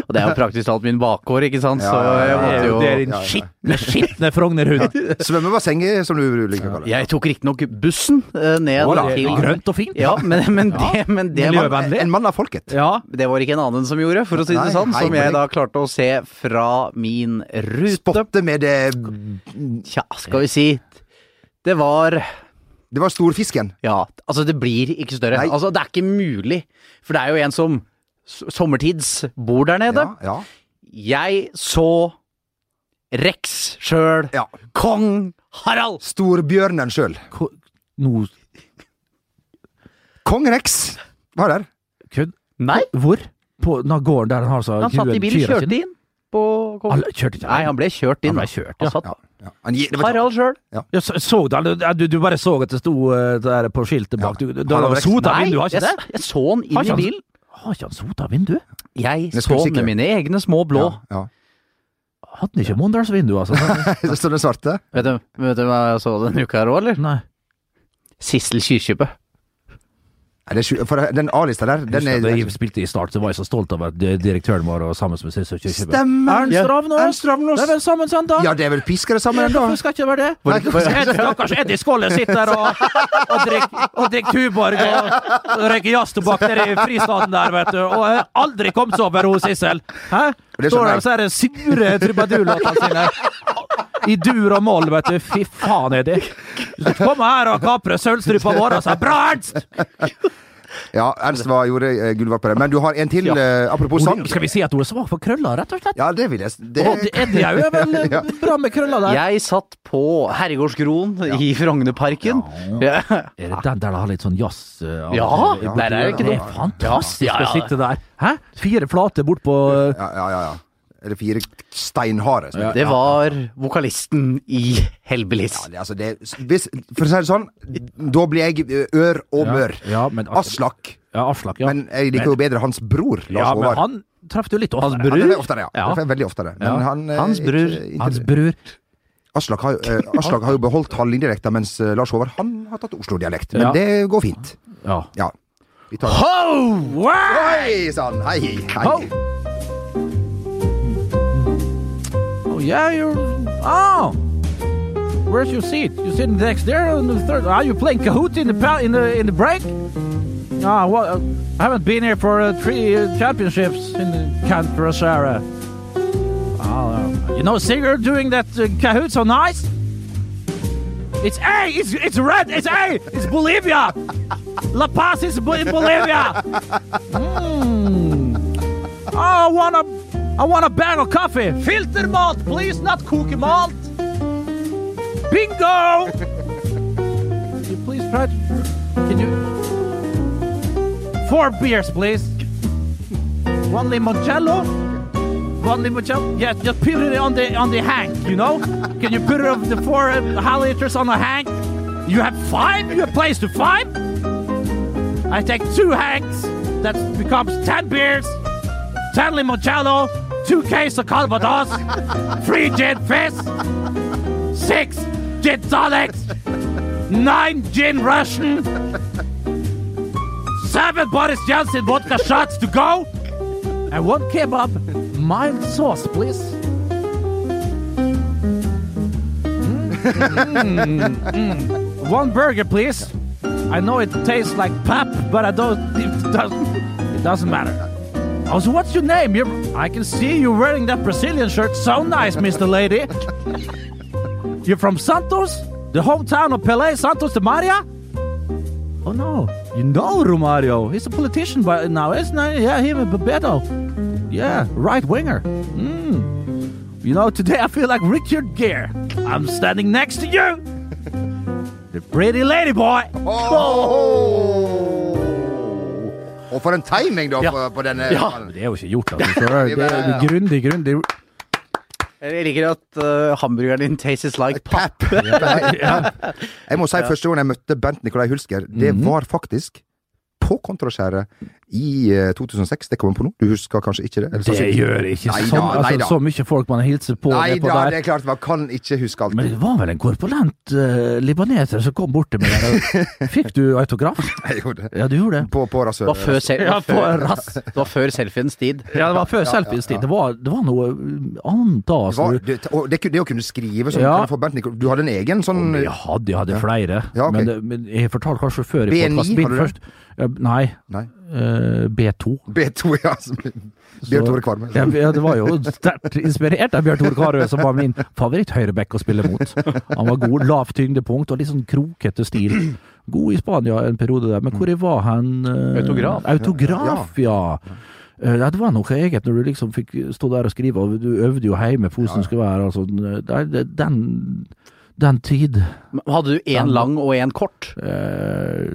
[SPEAKER 4] Og det er jo praktisk talt min bakgård, ikke sant? Så
[SPEAKER 3] ja, ja,
[SPEAKER 4] jeg
[SPEAKER 3] ja.
[SPEAKER 4] måtte jo
[SPEAKER 2] Det er din
[SPEAKER 3] ja, ja.
[SPEAKER 2] skitne, skitne Frognerhund.
[SPEAKER 3] Svømmebassenget, som du liker å kalle det.
[SPEAKER 4] Jeg tok riktignok bussen eh, ned
[SPEAKER 2] Å, det er
[SPEAKER 4] til
[SPEAKER 2] Grønt og fint.
[SPEAKER 4] Ja, men, men det, men det var
[SPEAKER 2] Miljøvennlig.
[SPEAKER 3] En mann av folket.
[SPEAKER 2] Ja.
[SPEAKER 4] det var ikke en annen som gjorde, for å si det
[SPEAKER 3] Nei,
[SPEAKER 4] sånn.
[SPEAKER 3] hei,
[SPEAKER 4] Som jeg
[SPEAKER 3] Henrik.
[SPEAKER 4] da klarte å se fra min rute.
[SPEAKER 3] Spotte med eh, det
[SPEAKER 4] Tja, skal vi si Det var
[SPEAKER 3] Det var storfisken.
[SPEAKER 4] Ja, altså det blir ikke større.
[SPEAKER 3] Nei.
[SPEAKER 4] Altså, det er ikke mulig. For det er jo en som s- sommertids bor der nede.
[SPEAKER 3] Ja, ja.
[SPEAKER 4] Jeg så Rex sjøl.
[SPEAKER 3] Ja.
[SPEAKER 4] Kong Harald!
[SPEAKER 3] Storbjørnen sjøl.
[SPEAKER 2] Ko- Nå
[SPEAKER 3] Kong Rex var der.
[SPEAKER 2] Kødd?
[SPEAKER 4] Nei?
[SPEAKER 2] Hvor? på den her gården der han har altså så
[SPEAKER 4] Han satt i bil,
[SPEAKER 2] kyrne
[SPEAKER 4] kjørte
[SPEAKER 2] sine.
[SPEAKER 4] inn på
[SPEAKER 2] Han kjørte ikke.
[SPEAKER 4] Nei, han ble kjørt inn.
[SPEAKER 2] Han ble
[SPEAKER 4] da.
[SPEAKER 2] kjørt,
[SPEAKER 4] Han
[SPEAKER 2] ja.
[SPEAKER 4] satt-
[SPEAKER 3] Ja, ja. Han gir- det var-
[SPEAKER 4] Harald sjøl.
[SPEAKER 2] Ja, så, så du, aldri- ja, du, du bare så at det sto eh, der på skiltet bak. Du, du, du
[SPEAKER 3] Harald
[SPEAKER 2] har
[SPEAKER 3] Reksten.
[SPEAKER 2] sota vinduet, har
[SPEAKER 4] jeg,
[SPEAKER 2] ikke det?
[SPEAKER 4] s- jeg så
[SPEAKER 2] Har
[SPEAKER 4] han inn
[SPEAKER 2] ikke
[SPEAKER 4] i
[SPEAKER 2] han-
[SPEAKER 4] bilen.
[SPEAKER 2] Har ikke han sota vindu?
[SPEAKER 4] Jeg
[SPEAKER 3] Det
[SPEAKER 4] så
[SPEAKER 3] skulle
[SPEAKER 4] han
[SPEAKER 3] sikre.
[SPEAKER 4] med mine egne små blå.
[SPEAKER 3] Ja, ja.
[SPEAKER 2] Hadde han ikke Mondals vindu, altså?
[SPEAKER 3] Så står det svarte.
[SPEAKER 4] Vet, du, vet du hva jeg så denne uka her òg, eller?
[SPEAKER 2] Nei.
[SPEAKER 4] Sissel Kyrkjebø.
[SPEAKER 3] Nei, det er sju, for den A-lista der, den
[SPEAKER 2] Husker Da
[SPEAKER 3] er
[SPEAKER 2] jeg spilte i Start, så var jeg så stolt av at di- direktøren vår og sammen med Sissel Kyrkjebø
[SPEAKER 3] Stemmer.
[SPEAKER 2] Ernst
[SPEAKER 3] Ja.
[SPEAKER 2] Ravnås!
[SPEAKER 3] Ernst Ravnås.
[SPEAKER 2] Det er vel sammen sånn, da?
[SPEAKER 3] Ja, det er vel piskere sammen
[SPEAKER 2] Men
[SPEAKER 3] ennå.
[SPEAKER 2] hvorfor skal ikke det være det?
[SPEAKER 3] Nei, hvorfor skal
[SPEAKER 2] Ed- Stakkars Eddie Skålle sitter der og, og drikker og drikker Tuborg og, og røyker jazztobakk nede i fristaden der, vet du. Og har aldri kommet seg over hos Sissel. Hæ?
[SPEAKER 3] Det skjønner
[SPEAKER 2] Står der
[SPEAKER 3] jeg.
[SPEAKER 2] og så er det sure trubadurlåtene sine. I dur og moll, vet du. Fy faen, Eddie. Du skal ikke komme her og kapre sølvstrupa vår og si 'Bra, Ernst!'
[SPEAKER 3] Ja, Ernst var, gjorde eh, gullvalg på det. Men du har en til,
[SPEAKER 2] Ja.
[SPEAKER 3] eh, apropos sang.
[SPEAKER 2] Skal vi si at hun er svak for krøller, rett og slett?
[SPEAKER 3] Ja, det vil jeg s- det,
[SPEAKER 2] Og Eddie er jo vel eh,
[SPEAKER 3] Ja.
[SPEAKER 2] bra med krøller der.
[SPEAKER 4] Jeg satt på Herregårdsgroen i Frognerparken. Ja,
[SPEAKER 2] Er det den der det har litt sånn jazz eh, av-
[SPEAKER 4] Ja,
[SPEAKER 2] i- i-
[SPEAKER 4] der er det ikke noe.
[SPEAKER 2] er fantastisk
[SPEAKER 4] Ja, ja, ja.
[SPEAKER 2] å sitte der. Hæ? Fire flate bort på eh,
[SPEAKER 3] Ja, ja, ja. ja. Eller fire steinharde. som det heter.
[SPEAKER 4] Det var vokalisten i Hellbillies.
[SPEAKER 3] Ja, det, altså, det, hvis, for å si det sånn, da blir jeg eh, ør og mør.
[SPEAKER 2] ja, men altså-
[SPEAKER 3] Aslak.
[SPEAKER 2] Ja, Aslak, ja.
[SPEAKER 3] Men jeg liker jo bedre hans bror, Lars
[SPEAKER 2] ja, men
[SPEAKER 3] Håvard.
[SPEAKER 2] han traff du litt oftere.
[SPEAKER 4] Hans bror?
[SPEAKER 3] Ja, det er oftere, ja.
[SPEAKER 2] Ja.
[SPEAKER 3] Det er Veldig oftere. Men
[SPEAKER 2] Ja.
[SPEAKER 3] han, eh,
[SPEAKER 4] Hans
[SPEAKER 3] ikke-
[SPEAKER 4] bror.
[SPEAKER 3] ikke-
[SPEAKER 2] Hans bror.
[SPEAKER 3] Aslak har, jo- eh, Aslak har jo beholdt hallingdialekta, mens eh, Lars Håvard han har tatt Oslo-dialekt. Men
[SPEAKER 2] Ja.
[SPEAKER 3] det går fint.
[SPEAKER 2] Ja.
[SPEAKER 3] Ja. Vi tar Hei sann! Hei, hei.
[SPEAKER 2] Ho! Oh, yeah, you're... Oh! Where's your seat? You sitting next there on the third... Are you playing Kahoot in the pa- in the in the break? Ah, well, uh, I haven't been here for uh, three uh, championships in the Camp Rosara. Oh, uh, you know, Sigurd doing that uh, Kahoot so nice. It's A! It's, it's red! It's A! It's Bolivia! La Paz is Bo- in Bolivia! Oh, I want a, I want a bag of coffee. Filter malt, please, not cookie malt. Bingo! Can you please try to, Can you... Four beers, please. One limoncello. One limoncello. Yes, just put it on the on the hank, you know? Can you put it of the four uh, haliters on the hank? You have five? You have place to five? I take two hanks. That becomes ten beers. 10 limoncello, 2 case of Calvados, 3 gin fizz, 6 gin tonics, 9 gin Russian, 7 Boris Johnson vodka shots to go, and 1 kebab. Mild sauce, please. Mm, mm, mm. One burger, please. I know it tastes like pap, but I don't. It doesn't, it doesn't matter. Also, what's your name? You're, I can see you wearing that Brazilian shirt. So nice, Mr. Lady. You're from Santos? The hometown of Pelé, Santos de Maria? Oh no, you know Romario. He's a politician by now, isn't he? Yeah, him and Bebeto. Yeah, right winger. Mm. You know, today I feel like Richard Gere. I'm standing next to you. The pretty lady boy.
[SPEAKER 3] Og for en timing, da, på, på denne ballen.
[SPEAKER 2] Det er jo ikke gjort, altså. Det er grundig, grundig.
[SPEAKER 4] Jeg liker at
[SPEAKER 2] eh,
[SPEAKER 4] uh, hamburgeren din tastes like pap.
[SPEAKER 3] Jeg må si første gang jeg møtte Bent Nikolai Hulsker, det
[SPEAKER 2] Mhm.
[SPEAKER 3] var faktisk på Kontraskjæret i eh, 2006. Det kommer jeg på nå. Du husker kanskje ikke det? Eller
[SPEAKER 2] Det
[SPEAKER 3] sannsynligvis.
[SPEAKER 2] gjør ikke
[SPEAKER 3] Nei
[SPEAKER 2] sånn.
[SPEAKER 3] da, nei
[SPEAKER 2] altså,
[SPEAKER 3] da.
[SPEAKER 2] så mye folk man hilser på,
[SPEAKER 3] Nei
[SPEAKER 2] er på
[SPEAKER 3] da,
[SPEAKER 2] der.
[SPEAKER 3] det er klart. Man kan ikke huske alt.
[SPEAKER 2] Men det var vel en korpulent eh, libaneser som kom bort til meg der. og- Fikk du autograf?
[SPEAKER 3] Jeg gjorde det.
[SPEAKER 2] Ja, du gjorde det.
[SPEAKER 3] På, på
[SPEAKER 4] Det var
[SPEAKER 3] rasshølet.
[SPEAKER 4] før,
[SPEAKER 3] altså.
[SPEAKER 4] sel
[SPEAKER 2] Ja, på
[SPEAKER 4] før,
[SPEAKER 2] rass.
[SPEAKER 4] det var før selfiens tid.
[SPEAKER 2] Ja, det var før selfiens tid. Det var, det var noe eh, annet da.
[SPEAKER 3] Det, var-
[SPEAKER 2] Altså.
[SPEAKER 3] det, og det, kunne- det å kunne skrive sånn
[SPEAKER 2] Ja.
[SPEAKER 3] kunne få Bent Nikolai Du hadde en egen sånn
[SPEAKER 2] Jeg hadde, jeg hadde flere,
[SPEAKER 3] Ja, ok.
[SPEAKER 2] men, det- men jeg fortalte kanskje før i
[SPEAKER 3] B9,
[SPEAKER 2] podcasten
[SPEAKER 3] har
[SPEAKER 2] min
[SPEAKER 3] du det?
[SPEAKER 2] først. Ja, Nei,
[SPEAKER 3] Nei.
[SPEAKER 2] eh, B2.
[SPEAKER 3] B2, ja. som- Bjørn Tore Kvarme.
[SPEAKER 2] Ja, ja, det var jo sterkt inspirert av Bjørn Tore Karø, som var min favoritt-høyreback å spille mot. Han var god, lavt tyngdepunkt og litt sånn krokete stil. God i Spania en periode der, men hvor jeg var han? eh,
[SPEAKER 4] Autograf.
[SPEAKER 2] Autograf, ja. Eh, Ja, det var noe eget når du liksom eh, fikk stå der og skrive, og du øvde jo hjemme på hvordan det skulle være. Altså, det, det, den den tid
[SPEAKER 4] Hadde du én lang og én kort?
[SPEAKER 2] eh,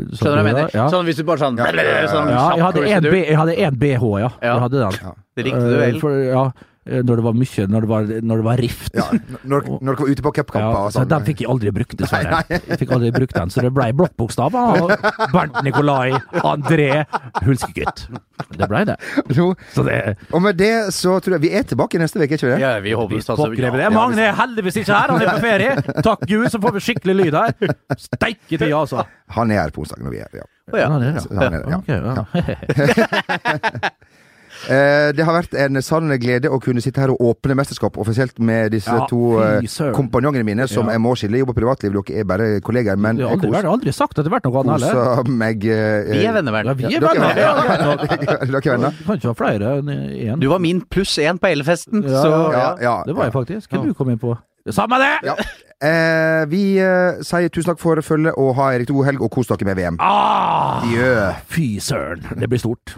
[SPEAKER 2] så-
[SPEAKER 4] Skjønner du hva jeg mener?
[SPEAKER 2] Ja,
[SPEAKER 4] Sånn hvis du bare sånn, sånn
[SPEAKER 2] ja jeg
[SPEAKER 4] kjapp
[SPEAKER 2] hadde
[SPEAKER 4] course
[SPEAKER 2] en
[SPEAKER 4] du-
[SPEAKER 2] B- jeg hadde én BH, ja. Jeg hadde den.
[SPEAKER 4] Det likte du vel?
[SPEAKER 2] Eh, For, ja, eh, når det var mye, når det var, når det var rift.
[SPEAKER 3] Ja, når, når dere var ute på
[SPEAKER 2] Ja,
[SPEAKER 3] cupkamper og
[SPEAKER 2] så
[SPEAKER 3] sånn.
[SPEAKER 2] den fikk jeg aldri brukt, dessverre. Jeg fikk aldri brukt den, så det blei blokkbokstaver. og Bernt Nikolai André Hulskegutt. Det blei det.
[SPEAKER 3] Jo,
[SPEAKER 2] Så det
[SPEAKER 3] Og med det så tror jeg vi er tilbake neste uke, er ikke vi det?
[SPEAKER 4] Ja, vi håper det.
[SPEAKER 2] Pokker, det. er Magne er heldigvis ikke her, han er på ferie. Takk Gud, så får vi skikkelig lyd her. Steike tida, altså.
[SPEAKER 3] Han er her på onsdag når vi er her. Ja.
[SPEAKER 4] Ja.
[SPEAKER 2] det,
[SPEAKER 3] Så han er der, ja.
[SPEAKER 2] Ok, ja.
[SPEAKER 3] Eh, det har vært en sann glede å kunne sitte her og åpne mesterskap offisielt med disse
[SPEAKER 2] Ja,
[SPEAKER 3] to eh,
[SPEAKER 2] fy søren.
[SPEAKER 3] kompanjongene mine, som
[SPEAKER 2] Ja.
[SPEAKER 3] jeg må skille. Jobber privatliv, dere er bare kollegaer. Men
[SPEAKER 2] Det har
[SPEAKER 3] jeg
[SPEAKER 2] aldri, vært-
[SPEAKER 3] koser
[SPEAKER 2] aldri sagt at det har vært noe annet heller.
[SPEAKER 3] koser meg eh,
[SPEAKER 4] Vi er venner, vel?
[SPEAKER 2] Ja, vi er
[SPEAKER 3] Dere er
[SPEAKER 2] venner.
[SPEAKER 3] venner.
[SPEAKER 2] Ja, greit nok.
[SPEAKER 3] Dere er venner?
[SPEAKER 2] Du kan ikke ha flere enn én.
[SPEAKER 4] Du var min pluss én på Elefesten,
[SPEAKER 2] Ja,
[SPEAKER 4] så
[SPEAKER 2] ja,
[SPEAKER 3] Ja, ja.
[SPEAKER 2] Det var jeg faktisk. Hva du kom inn på? Samme det!
[SPEAKER 3] Ja. Eh, vi eh, sier tusen takk for følget, og ha en riktig god helg, og kos dere med VM.
[SPEAKER 2] Ah,
[SPEAKER 3] Adjø.
[SPEAKER 2] fy søren, det blir stort.